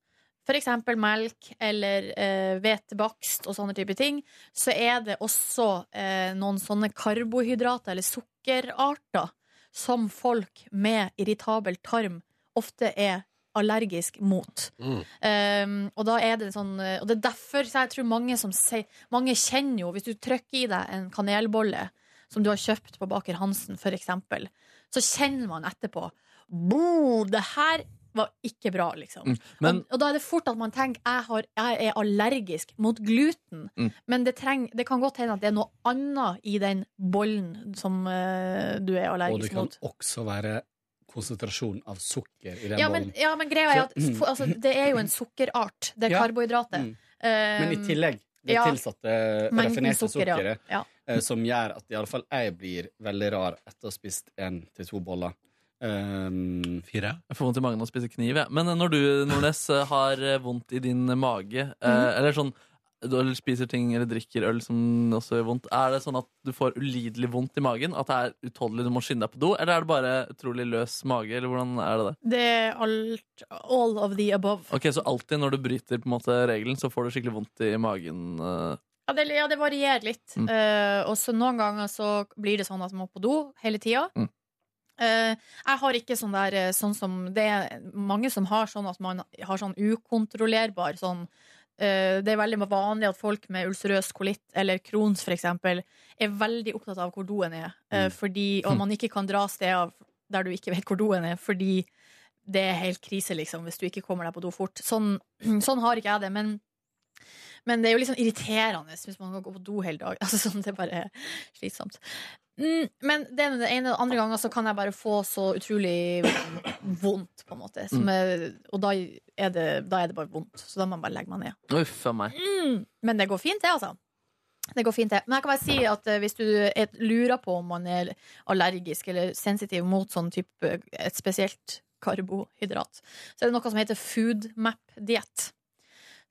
for eksempel melk eller eh, hvetebakst og sånne type ting, så er det også eh, noen sånne karbohydrater eller sukkerarter som folk med irritabel tarm ofte er allergisk mot. Um, og, da er det sånn, uh, og det er derfor så jeg tror mange som sier Mange kjenner jo, hvis du trykker i deg en kanelbolle som du har kjøpt på Baker Hansen, for eksempel, så kjenner man etterpå Bo, det her var ikke bra, liksom. Mm, men- og, og da er det fort at man tenker jeg, har, jeg er allergisk mot gluten. Mm. Men det, treng, det kan godt hende at det er noe annet i den bollen som eh, du er Og det allergisk kan mot. også være konsentrasjon av sukker i den Ja men, bollen. ja, men greia er Så- at for, altså, det er jo en sukkerart. Det er Ja. Mm. karbohydratet. Eh, Men i tillegg, det ja. tilsatte Mengden raffinerte sukker, ja. sukkeret, Ja. eh, som gjør at iallfall jeg blir veldig rar etter å ha spist én til to boller. Um, Fire? Jeg får vondt i magen av å spise kniv. Jeg. Men eh, når du, Nordnes, eh, har eh, vondt i din mage, eh, Mhm. eller sånn du eller spiser ting eller drikker øl som også gjør vondt, er det sånn at du får ulidelig vondt i magen? At det er utholdelig, du må skynde deg på do? Eller er det bare utrolig løs mage? Eller hvordan er det det? Det er alt All of the above. Ok, Så alltid når du bryter på en måte regelen, så får du skikkelig vondt i magen? eh. Ja, det, ja, det varierer litt. Mm. Eh, og så noen ganger så blir det sånn at man må på do hele tida. Mm. Eh, jeg har ikke sånn der eh, sånn som Det er mange som har sånn at man har sånn ukontrollerbar sånn eh, Det er veldig vanlig at folk med ulcerøs kolitt eller Crohns for eksempel er veldig opptatt av hvor doen er, Mm. eh, fordi, og man ikke kan dra steder der du ikke vet hvor doen er, fordi det er helt krise, liksom, hvis du ikke kommer deg på do fort. Sånn, [clears throat] sånn har ikke jeg det, men men det er jo litt sånn irriterende hvis man kan gå på do hele dagen. [laughs] Altså, sånn, det er bare slitsomt. Mm, men det er det ene og andre ganger så kan jeg bare få så utrolig vondt, på en måte. Som er, og da er, det, da er det bare vondt. Så da må man bare legge meg ned. Uff a meg. Mm, men det går fint, det, altså. Det går fint, det. Men jeg kan bare si at eh, hvis du er, lurer på om man er allergisk eller sensitiv mot sånn type et spesielt karbohydrat, så er det noe som heter foodmap-diett.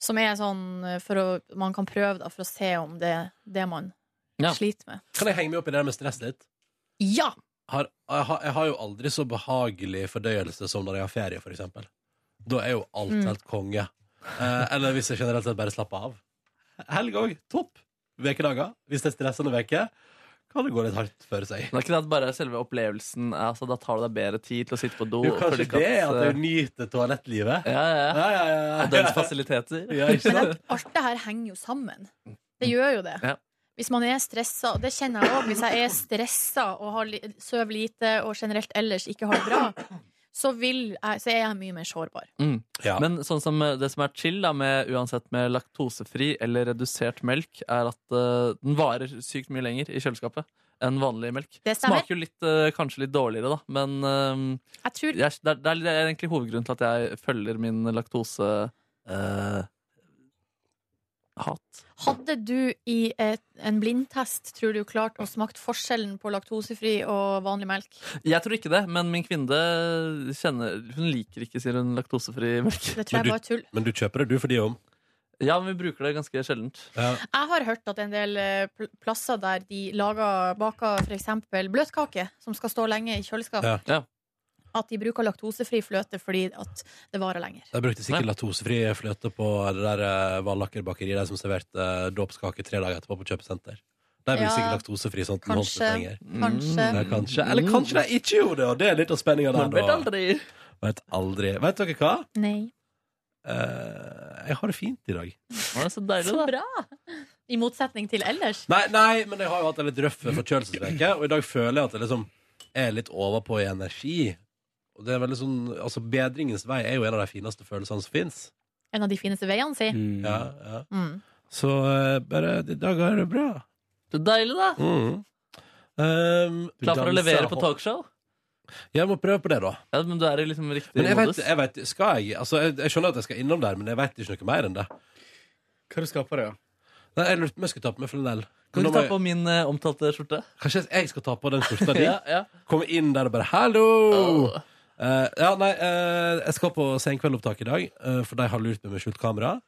Som er sånn eh, for å, man kan prøve da, for å se om det er det man sliter med. Kan jeg henge meg opp i det der med stress litt? Ja! Har, jeg, har, jeg har jo aldri så behagelig fordøyelse som når jeg har ferie, for eksempel. Da er jo alt Mm. helt konge. Eh, eller hvis jeg generelt sett bare slapper av. Helg òg. Topp. Ukedager. Hvis det er stressende uke, kan det gå litt hardt for seg. Men er ikke det at bare selve opplevelsen altså, Da tar du deg bedre tid til å sitte på do? Jo, kanskje føler ikke det er at eh, jeg nyter toalettlivet. Ja, eh, ja, [laughs] ja. Og dens fasiliteter. Ja, ikke sant? Alt det her henger jo sammen. Det gjør jo det. Ja. Hvis man er stressa, og det kjenner jeg òg, hvis jeg er stressa og har li sover lite og generelt ellers ikke har det bra, så, vil jeg, så er jeg mye mer sårbar. [laughs] Mm. Ja. Men sånn som eh, det som er chill da, med, uansett med laktosefri eller redusert melk, er at eh, den varer sykt mye lenger i kjøleskapet enn vanlig melk. Det stemmer. Smaker jo litt, eh, kanskje litt dårligere, da, men eh, Jeg tror jeg, det, er, det er egentlig hovedgrunnen til at jeg følger min laktose... eh, hat. Hadde du i et, en blindtest, tror du, klart å smakt forskjellen på laktosefri og vanlig melk? Jeg tror ikke det, men min kvinne kjenner, hun liker ikke, sier hun, laktosefri melk. Det tror jeg Men du- bare er tull. Men du kjøper det, du, for de om? Ja, men vi bruker det ganske sjeldent. Jeg har hørt at en del eh, pl- plasser der de lager, baker f.eks. bløtkake, som skal stå lenge i kjøleskap, Ja. at de bruker laktosefri fløte fordi at det varer lenger. Jeg brukte sikkert laktosefri fløte på det der eh, Vallaker bakeri, de som serverte eh, dåpskake tre dager etterpå på kjøpesenter. De brukte Ja, sikkert laktosefri sånn at den holdt Kanskje. litt mm. lenger. Kanskje. Ja, kanskje. Eller kanskje de ikke gjorde det, og det er litt av spenninga der, Man vet da. aldri. Vet aldri. Vet dere hva? Nei. Eh, jeg har det fint i dag. så deilig, Så bra! I motsetning til ellers. Nei, nei, men jeg har jo hatt en litt røff forkjølelsesveke, og i dag føler jeg at jeg liksom er litt overpå i energi. Og det er veldig sånn, altså Bedringens vei er jo en av de fineste følelsene som fins. En av de fineste veiene, si. Ja, ja. Mm. Så eh, bare i dag er det bra. Det er deilig, da. Mm. Um, Klar for å danser levere på hopp. talkshow? Jeg må prøve på det, da. Ja, men du er i liksom riktig Men jeg vet, modus. jeg vet skal jeg, altså, jeg, jeg skjønner at jeg skal innom der, men jeg vet ikke noe mer enn det. Hva du skal på deg, Nei, jeg lurte på om jeg skulle ta på meg flanell. Kan Men du nå ta må jeg- på min eh, omtalte skjorte? Kanskje jeg skal ta på den skjorta di? [laughs] Ja, ja. Komme inn der og bare 'hallo'! Eh, ja, nei, eh, jeg skal på Senkveldopptak i dag, eh, for de har lurt meg med skjult kamera.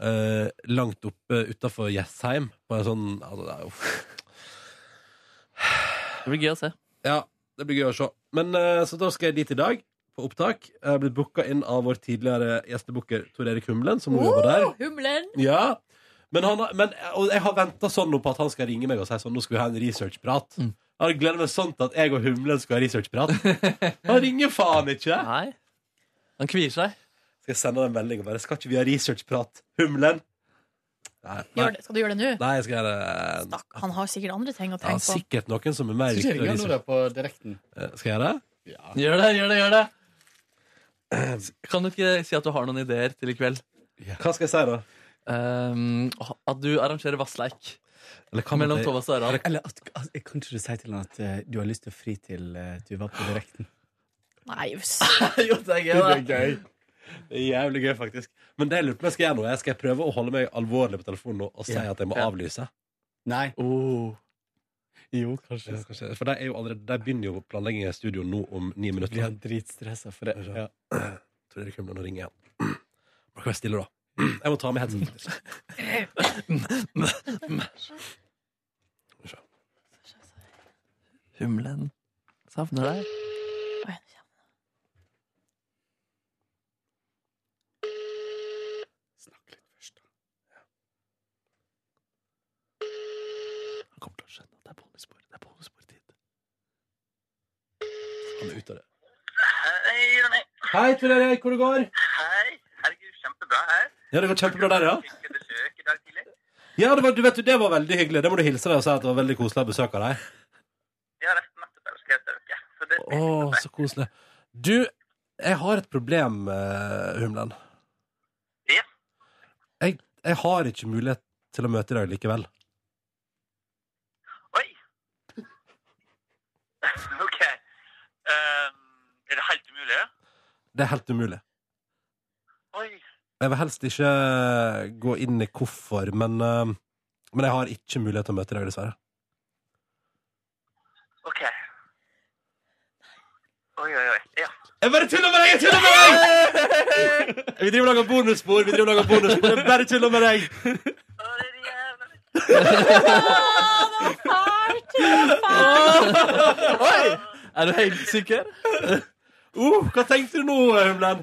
eh, langt oppe utafor Jessheim, på en sånn altså, det, er, uff. Det blir gøy å se. Ja, det blir gøy å se. Men eh, så da skal jeg dit i dag, på opptak. Jeg har blitt booka inn av vår tidligere gjestebooker Tor Erik Humlen, som nå jobber der. Humlen! Ja men, han, har- men og jeg har venta sånn nå på at han skal ringe meg og si sånn Nå skal vi ha en researchprat. Jeg gleder meg sånn til at jeg og Humlen skal ha researchprat. Han ringer faen ikke! Nei. Han kvier seg. Skal jeg sende han en melding og bare Skal ikke vi ha researchprat, Humlen? Nei, nei, Gjør det. Skal du gjøre det nå? nei jeg skal gjøre det. Han har sikkert andre ting å Ja, tenke på. sikkert noen som er mer Skal ikke viktig. jeg enn gjøre noe research. der på direkten? Eh, Skal jeg gjøre det? Gjør det, gjør det, gjør det! Kan du ikke si at du har noen ideer til i kveld? Hva skal jeg si, da? Ehm, at du arrangerer vassleik kan mellom det- Thomas og Harald. Eller at, at, kan ikke du si til han at eh, du har lyst til å fri til eh, du var på direkten? Nei, uss. [laughs] jo, det er gøy, [laughs] da. Det er gøy. Det er jævlig gøy, faktisk. Men det jeg lurer på om jeg skal gjøre nå, jeg skal prøve å holde meg alvorlig på telefonen nå og si Ja. at jeg må Ja. avlyse. Nei. Oh. Jo, kanskje. Ja, kanskje. For de, er jo allerede, de begynner jo planleggingen i studio nå om ni minutter. Vi er dritstressa for det. Ja. Tror dere kommer noen ringer igjen. [clears throat] Må ikke være stille, da. [clears throat] Jeg må ta med headset, faktisk. Humlen savner deg. Oi, nå kommer Snakk litt først, da. Han kommer til å skjønne at det er bonusbord. Det er bonusbordtid. Han er ute av det. Hei, Jonny. Hei, Tor Erik, hvor det går? Hei. Herregud, kjempebra her. Ja, det går kjempebra der, ja. Fikk besøk i dag tidlig. Ja, det var, du vet, jo, det var veldig hyggelig. Det må du hilse deg og si at det var veldig koselig å besøke deg. Ja, det er nettopp det jeg skrev til dere. Så det Å, så koselig. Du, jeg har et problem, eh, Humlen. Ja. Jeg, jeg har ikke mulighet til å møte i dag likevel. Oi! [laughs] OK. Ehm, er det helt umulig? Det er helt umulig. Oi. Jeg vil helst ikke gå inn i hvorfor, men, eh, men jeg har ikke mulighet til å møte i dag, dessverre. OK. Oi, oi, oi. Ja. Jeg bare tuller med deg! Jeg tuller med deg! Vi driver og lager bonusspor. Vi driver og lager bonusspor. Jeg bare tuller med deg. Å, det er det jævla Oi! Er du helt sikker? Uh, hva tenkte du nå, Humlen?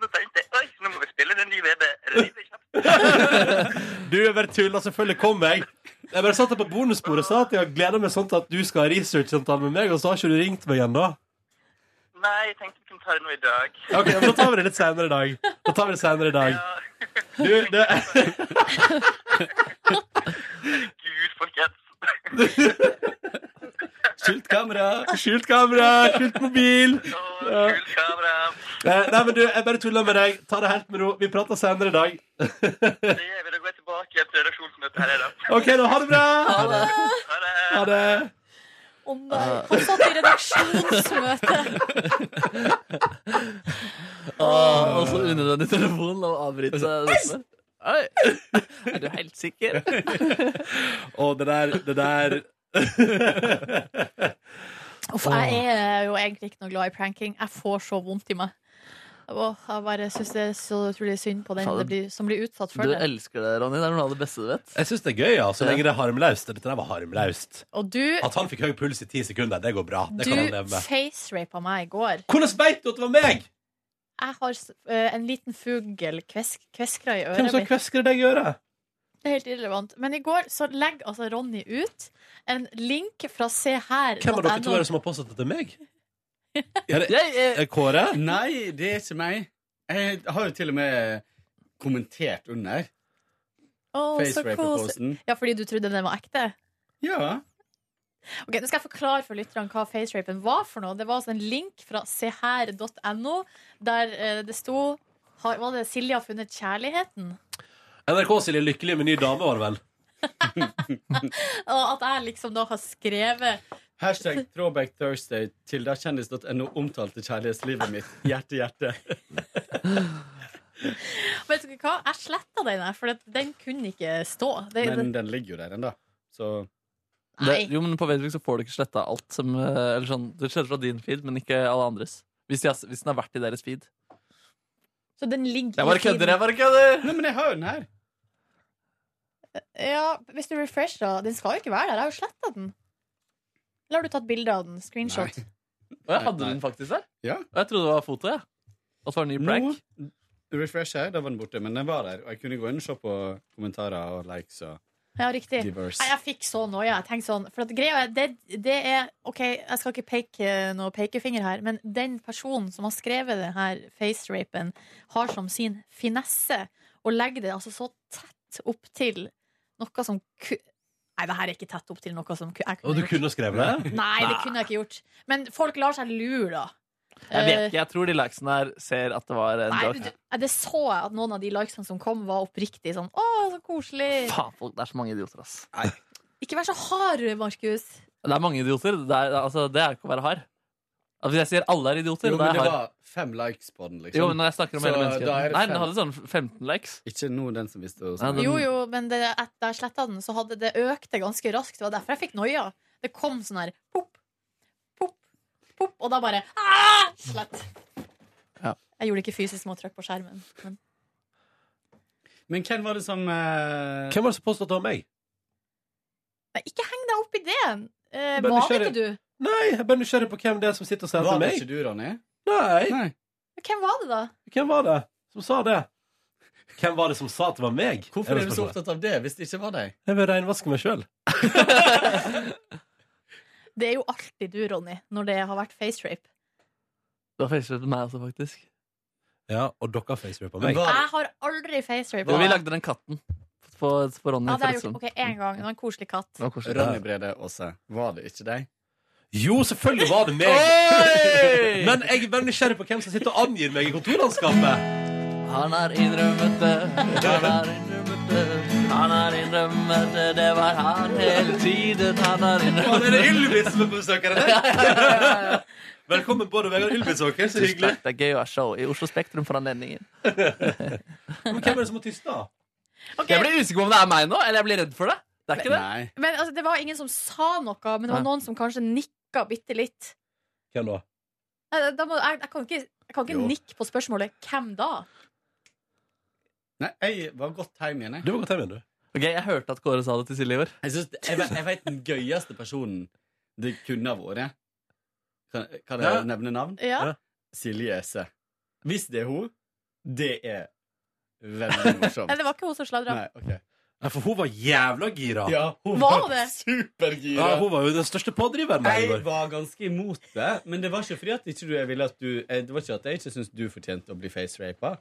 Nå tenkte jeg Oi, nå må vi spille den nye VB-revivet kjapt. Du jeg bare tuller. Selvfølgelig kommer jeg. Jeg bare satt deg på bonussporet og sa at jeg gleder meg sånn til at du skal ha research-samtale med meg, og så har ikke du ringt meg ennå. Nei, jeg tenkte vi kunne ta det nå i dag. Ok, men da tar vi det litt senere i dag. Da tar vi det senere i dag. [laughs] Ja. Du, [laughs] det Gud, [laughs] folkens. Skjult kamera. Skjult kamera. Skjult mobil. Å, Ja. Kult kamera. Eh, Nei, men du, jeg bare tuller med deg. Ta det helt med ro. Vi prater senere i dag. Det gjør vi. Da går jeg tilbake igjen til redaksjonsmøtet her i dag. OK, da. Ha det bra. Ha det. Ha det. Ha det. Å nei, hun satt i redaksjonsmøte. Åh, og så unødvendig telefon å avbryte dette. Oi! Er du helt sikker? Og det der, det der Uff, jeg er jo egentlig ikke noe glad i pranking. Jeg får så vondt i meg. Åh, jeg bare syns det er så utrolig synd på den Faen. det blir, som blir utsatt for Du det. elsker det, Ronny. Det er noe av det beste du vet. Jeg syns det er gøy, ja. Så lenge det er harmlaust. Dette der var harmlaust. Og du, At han fikk høy puls i ti sekunder, det går bra. Det kan han du leve med. facerapa meg i går. Hvordan veit du at det var meg? Jeg har s- eh, en liten fugl kvesk, kveskra i Hvem øret som mitt. kveskrer deg i øret? Det er helt irrelevant. Men i går så legger altså Ronny ut en link fra Hvem av dere to er seher.no. det som har påstått at det er meg? Er det Jeg, eh, er Kåre? Nei, det er ikke meg. Jeg har jo til og med kommentert under Oh, so cool. facerape-posten. Ja, fordi du trodde den var ekte? Ja. Ok, Nå skal jeg forklare for lytterne hva facerapen var for noe. Det var altså en link fra seher.no, der eh, det sto har, Var det 'Silje har funnet kjærligheten'? NRK-Silje Lykkelig med ny dame, var det vel? Og at jeg liksom da har skrevet Hashtag throwback Thursday til da kjendis.no omtalte kjærlighetslivet mitt. Hjerte, hjerte. Vet dere hva? Jeg sletta den, her, for at den kunne ikke stå. Det, Men det, den ligger jo der ennå, så Det, jo, men På Vedvik så får du ikke sletta alt. Som, eh, eller sånn, du sletter fra din feed, men ikke alle andres. Hvis, de, har- hvis den har vært i deres feed. så den ligger Jeg bare kødder! jeg bare kødder Nei, men jeg har jo den her. Ja, Hvis du refresher, da. Den skal jo ikke være der. Jeg har jo sletta den. Eller har du tatt bilde av den? Screenshot. Og jeg hadde den faktisk der. Ja. Og jeg trodde det var foto. Ja. At det var en ny prank. Nå, refresh her, da var den borte, men den var der. Og jeg kunne gå inn og se på kommentarer og likes og Ja, riktig. Diverse. Nei, jeg fikk så noia. Jeg tenkte sånn For at greia er, det, det er OK, jeg skal ikke peke eh, noe pekefinger her, men den personen som har skrevet den her facerapen, har som sin finesse å legge det altså så tett opp til noe som ku... Nei, det her er ikke tett opp til noe som ku... jeg Og du gjort. kunne [laughs] skrevet det? Nei, det kunne jeg ikke gjort. Men folk lar seg lure, da. Jeg vet Eh, ikke, jeg tror de likesene her ser at det var en Nei, men joke. du, det så jeg at noen av de likesene som kom, var oppriktig sånn Å, så koselig! Faen, folk, det er så mange idioter, ass. Ikke vær så hard, Markus. Det er mange idioter. Det er, altså, det er ikke å være hard. Altså, hvis jeg sier alle er idioter, Jo, da men er det jeg var hard. fem likes på den, liksom. Jo, men når jeg snakker om Så hele da er menneskeheten. det Nei, den fem. hadde sånn 15 likes. Ikke nå den som visste Nei, den- Jo, jo, men det, etter jeg sletta den, så hadde det økte ganske raskt. Det var derfor jeg fikk noia. Det kom sånn her pop, pop, pop, og da bare «Ah, Slett. Ja. Jeg gjorde ikke fysisk med å trykke på skjermen. Men. Men hvem var det som eh, Hvem var det som påstod at det var meg? Nei, ikke heng deg opp i det! Eh, Bare var det nysgjerrig. ikke du? Nei, jeg er bare nysgjerrig på hvem det er som sitter og ser Var etter det meg. ikke du, Ronny? Nei. Men Hvem var det, da? Hvem var det som sa det? Hvem var det som sa at det var meg? Hvorfor er du så opptatt av det hvis det ikke var deg? Jeg vil renvaske meg sjøl. Det er jo alltid du, Ronny, når det har vært facerape. Det var Facebook med meg også, faktisk. Ja, og dere facerapa Men meg. hva- Jeg har aldri Jo, vi facerapa. lagde den katten på, på Ronny. Ja, det har jeg Fredriksson. gjort ok, én gang. Det var en koselig katt. Det var koselig. Ronny Brede Aase, var det ikke deg? Jo, selvfølgelig var det meg! Oi! Men jeg er bare nysgjerrig på hvem som sitter og angir meg i kontorlandskapet. Han har innrømmet det, han har innrømmet det, han har innrømmet det, det var han hele tiden, han har Og det innrømmet er det. Ylvis som er på besøk her i dag. Velkommen både Vegard Ylvisåker, så Tusen hyggelig. takk, Det er gøy å ha show i Oslo Spektrum for anledningen. Men hvem er det som må tyste, da? Jeg blir usikker på om det er meg nå, eller jeg blir redd for det. Det er ikke det. Nei. Men altså, det var ingen som sa noe, men det var Nei. noen som kanskje nikka bitte litt. Hvem da? Nei, Da må, jeg, jeg kan ikke, jeg kan Jo. ikke nikke på spørsmålet 'hvem da?' Nei, jeg var godt hjem igjen, jeg. Du må gå hjem igjen, du. Ok, Jeg hørte at Kåre sa det til Silje i går. Jeg, synes, jeg, vet- jeg vet den gøyeste personen det kunne ha vært. Kan, kan jeg Ja. nevne navn? Ja. Ja. Silje Ese. Hvis det er hun, det er veldig morsomt. Nei, det var ikke hun som sladra. Nei, ok. Nei, for hun var jævla gira. Ja, hun Var var, det? supergira. Ja, hun var jo den største pådriveren der i Jeg går. var ganske imot det, men det var ikke fordi at ikke du, jeg ville at du eh, Det var ikke at jeg ikke syntes du fortjente å bli facerapa.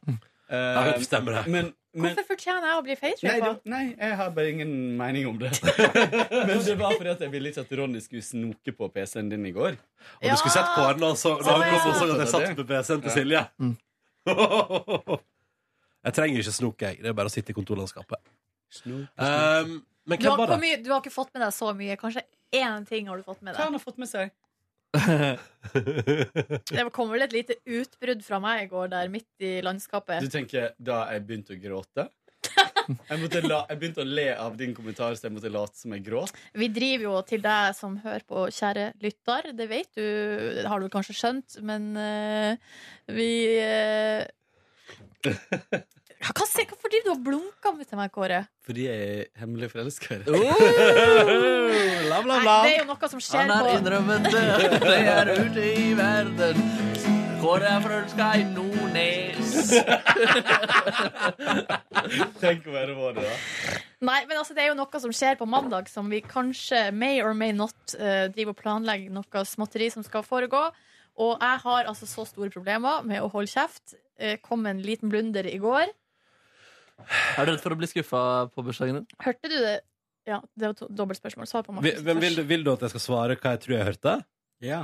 Ja, det stemmer det. Men, men Hvorfor fortjener jeg å bli nei, facerapa? det- nei, jeg har bare ingen mening om det. [laughs] men det var fordi at jeg ville ikke at Ronny skulle snoke på PC-en din i går. Og du skulle sett Kåren altså, da han Å, kom og ja. så at jeg satt på PC-en til Silje. [laughs] jeg trenger ikke snok, jeg. Det er bare å sitte i kontorlandskapet. Um, men Du, hvem har var ikke det? mye, du har ikke fått med deg så mye. Kanskje én ting har du fått med Hva deg. han har fått med seg? Det kom vel et lite utbrudd fra meg i går der midt i Du landskapet. tenker da jeg begynte å gråte? Jeg, måtte la, jeg begynte å le av din kommentar, så jeg måtte late som jeg gråt. Vi driver jo til deg som hører på, kjære lytter. Det vet du, det har du kanskje skjønt, men eh, vi [laughs] eh, hva, se- Hvorfor driver du og blunker til meg, Kåre? Fordi jeg er hemmelig forelsker. [laughs] Bla, bla, Nei, bla. det er jo noe som skjer Han har på innrømmet det, det er ute i verden. Kåre er forelska i Nordnes. Tenk å være vår, da. Nei, men altså, det er jo noe som skjer på mandag, som vi kanskje may or may not eh, driver og planlegger noe småtteri som skal foregå. Og jeg har altså så store problemer med å holde kjeft. Eh, kom en liten blunder i går. Er du redd for å bli skuffa på bursdagen din? Hørte du det? Ja, det var to- dobbeltspørsmål. Svar på Vi- Markus. Men vil, du- vil du at jeg skal svare hva jeg tror jeg hørte?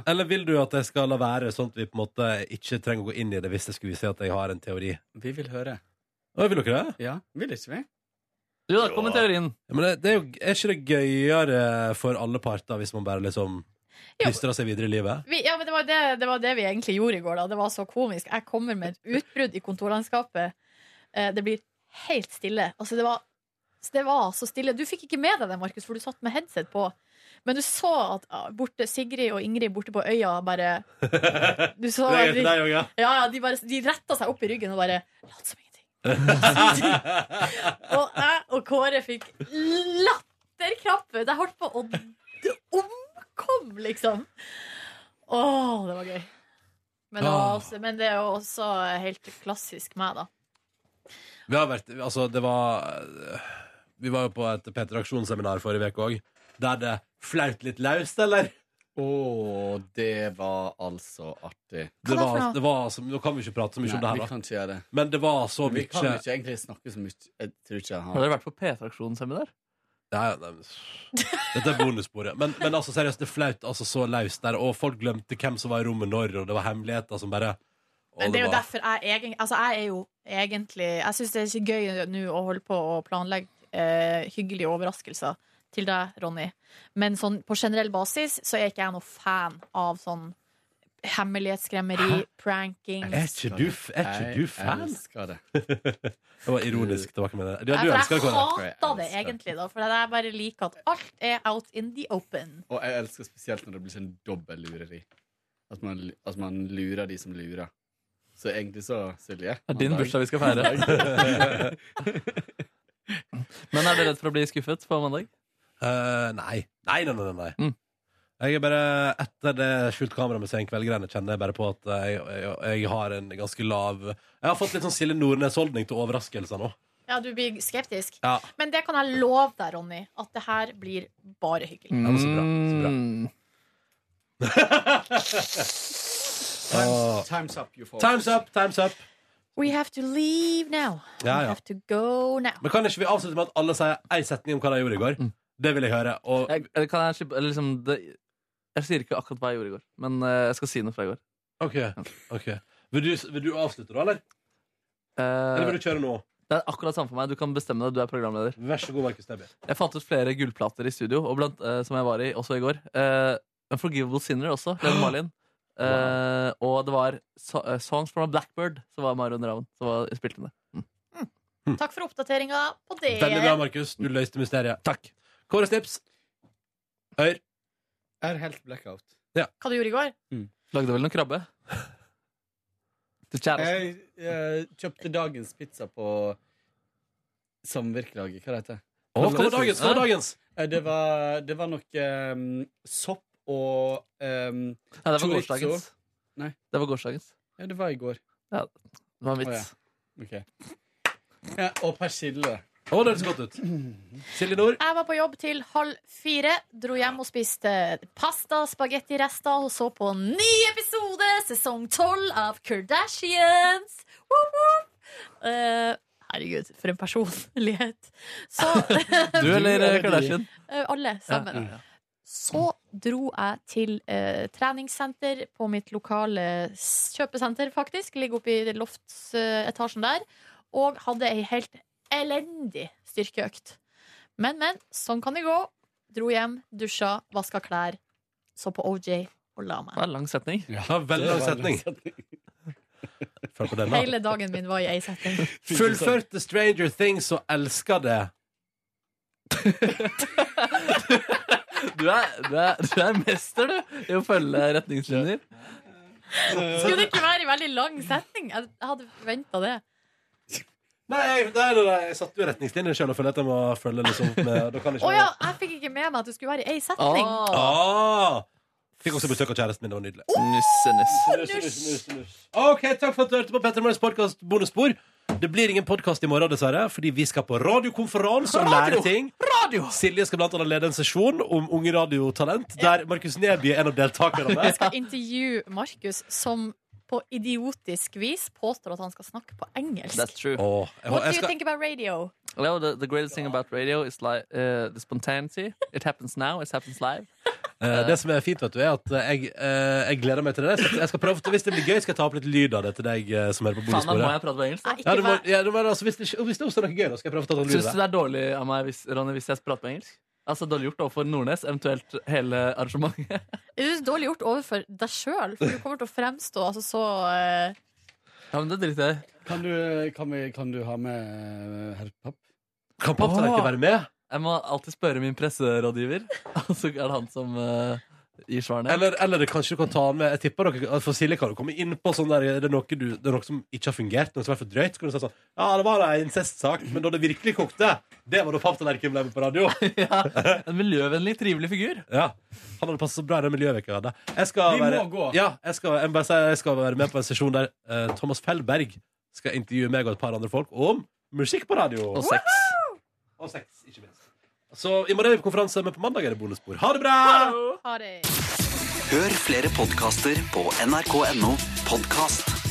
Eller vil du at jeg skal la være, sånn at vi på en måte ikke trenger å gå inn i det hvis jeg skulle si at jeg har en teori? Vi vil høre. Å, vil dere det? Ja, vil ikke vi? Jo da, kom med teorien. Ja, men det, det er, jo, er ikke det gøyere for alle parter hvis man bare liksom plystrer seg videre i livet? Vi, ja, men det var det, det var det vi egentlig gjorde i går. Da. Det var så komisk. Jeg kommer med et utbrudd i kontorlandskapet. Eh, Det blir helt stille. Altså, det var, det var så stille. Du fikk ikke med deg det, Markus, for du satt med headset på. Men du så at ah, borte, Sigrid og Ingrid borte på øya bare [laughs] du så, Det er til de, deg også, ja. ja, ja, de, bare, de retta seg opp i ryggen og bare Lat som ingenting. Og jeg og Kåre fikk latterkrampe. Jeg holdt på å d- omkomme, liksom. Å, det var gøy. Men det, var Ah. også, men det er jo også helt klassisk meg, da. Vi har vært, altså det var Vi var jo på et Peter Aksjonsseminar forrige vek òg Der det flaut litt laust, eller? Å, det var altså artig Det var, det var altså, Nå kan vi ikke prate så mye om det Nei, her vi da. kan ikke gjøre det Men det var så Vi mye kan ikke egentlig snakke så mye Jeg tror ikke jeg har Har dere vært på P-traksjonsseminar? Nei, nei, men- Dette er bonussporet men, men altså seriøst, det er flaut altså så laust der Og folk glemte hvem som var i rommet når Og det var hemmeligheter som bare og Men det er jo var- derfor jeg egen, Altså, jeg er jo egentlig Jeg syns det er ikke gøy nå å holde på å planlegge eh, hyggelige overraskelser til deg, Ronny. Men sånn på generell basis så er ikke jeg noe fan av sånn hemmelighetskremmeri, pranking Er ikke du, f- er ikke du fan? Jeg elsker det [laughs] Det var ironisk, det var ikke med det ja, Ja, du elsker det, for Kåre. Altså, jeg hater det egentlig, da. For jeg bare liker at alt er out in the open. Og jeg elsker spesielt når det blir sånn dobbel lureri at man, at man lurer de som lurer Så egentlig så, Silje Det er din mandag- bursdag vi skal feire. [laughs] [laughs] Mandag. Men er dere redd for å bli skuffet på mandag? Eh, nei. Nei, nei, nei. nei, nei. Jeg er bare, Etter det skjult kamera med Sen kveld-greiene kjenner jeg bare på at jeg, jeg, jeg har en ganske lav Jeg har fått litt sånn Silje Nordnes-holdning til overraskelser nå. Ja, du blir skeptisk. Ja. Men det kan jeg love deg, Ronny, at det her blir bare hyggelig. Ja, men så bra. Så bra. Mm. times, times up, you folks Time's up, time's up. We have to leave now. Ja, We ja. have to go now. Men kan ikke vi avslutte med at alle sier ei setning om hva de gjorde i går? Det vil jeg høre. Og Jeg, eller kan jeg slippe eller liksom, det, Jeg sier ikke akkurat hva jeg gjorde i går, men eh, jeg skal si noe fra i går. OK. ok Vil du, vil du avslutte da, eller? Eller vil du kjøre nå? Eh, Det er akkurat samme for meg. Du kan bestemme det. Du er programleder. Vær så god, Markus Neby. Jeg fant ut flere gullplater i studio, og blant, eh, som jeg var i også i går. Uh, Unforgivable Sinner også. Lene [gasps] Marlin. Eh, Og det var so eh, Songs from a Blackbird, som var Marion Ravn. Som var, spilte inn det. Takk for oppdateringa på det. Veldig bra, Markus. Du løste mysteriet. Takk. Kåre Snips. Høyr. Jeg er helt blackout Hva du gjorde i går? Lagde vel noe krabbe? [laughs] Til Eh, kjæresten. Jeg, jeg kjøpte dagens pizza på samvirkelaget. Hva det heter Å, hva var dagens? Hva var dagens? Eh, Det var, det var noe um, sopp og um, Nei, det var chorizo. gårsdagens. Nei. Det var gårsdagens. Ja, det var i går. Ja, det var en vits. Å, ja. Ok. Ja, og persille. Å, det høres godt ut. Silje Nord. Jeg var på jobb til halv fire. Dro hjem og spiste pasta, spagettirester og så på en ny episode, sesong tolv av Kardashians. Woop, woop. Eh, herregud, for en personlighet. Så [laughs] Du eller eh, Kardashian? Eh, alle sammen. Ja, ja, ja. Så dro jeg til eh, treningssenter på mitt lokale s- kjøpesenter, faktisk. Ligger oppe i loftsetasjen der. Og hadde ei helt elendig styrkeøkt. Men, men, sånn kan det gå. Dro hjem, dusja, vaska klær, så på OJ og la meg. Det var en lang setning. Ja, veldig lang setning. Følg på den, da. Hele dagen min var i ei setning. Fullførte Stranger Things og elsker det. Du er, du, er, du er mester, du, i å følge retningslinjer. Skulle det ikke være en veldig lang setning? Jeg jeg hadde venta det. Nei, jeg, nei, nei, nei, jeg satte jo retningslinjer sjøl og følte at jeg må følge liksom med Da kan jeg Å ikke ja, jeg fikk ikke med meg at det skulle være i ei setning. Ah. Fikk også besøk av kjæresten min. Det var nydelig. Nusse, nusse, nusse, nusse. OK, takk for at du hørte på Petter Morgens podkast Bonusspor. Det blir ingen podkast i morgen, dessverre, fordi vi skal på radiokonferanse og Radio! lære ting. Silje skal blant annet lede en sesjon om unge radiotalent, der Markus Neby er en av deltakerne. Jeg skal intervjue Markus, som på idiotisk vis påstår at han skal snakke på engelsk. Åh, jeg, What do jeg you skal, think about radio? Hello, the, the greatest thing about radio is like uh, the spontaneity. It happens now, it happens live. Eh, det som er fint, vet du, er at eh, jeg, eh, jeg gleder meg til det. Jeg skal- Jeg skal prøve, Hvis det blir gøy, skal jeg ta opp litt lyd av det til deg eh, som er på Faen, da må jeg bonusbordet. prate på engelsk. da. Ja, du må, ja, du må, altså, hvis, det, ikke- hvis det oppstår noe gøy, da skal jeg prøve å ta den lyden. Syns du det er dårlig av meg hvis, Ronny, hvis jeg prater på engelsk? Altså Dårlig gjort overfor Nordnes, eventuelt hele arrangementet. Det er dårlig gjort overfor deg sjøl, for du kommer til å fremstå altså, så eh, Ja, men det driter jeg i. Kan du, kan, vi, kan du ha med eh, herr Papp? Kan Papptallerken Åh! være med? Jeg må alltid spørre min presserådgiver, [laughs] og så er det han som eh, gir svarene. Eller, eller det kanskje du kan ta den med Jeg tipper dere, for Silje kan jo komme inn på sånn der, det, er noe du, det er noe som ikke har fungert, noe som er for drøyt. Så kan du si sånn Ja, det var en incestsak, men da det virkelig kokte, det var da papptallerkenen ble med på [laughs] radio. ja, En miljøvennlig, trivelig figur. Ja. Han hadde passet så bra i den miljøveka jeg hadde. Jeg skal Vi må være, gå. Ja, jeg skal, jeg, må bare si, jeg skal være med på en sesjon der eh, Thomas Fellberg skal intervjue meg og et par andre folk om musikk på radio. Og sex. Og sex, ikke minst. Så i morgen er vi på konferanse, men på mandag er det bonusbord. Ha det bra! Ah. Ha det. Hør flere podkaster på nrk.no podkast.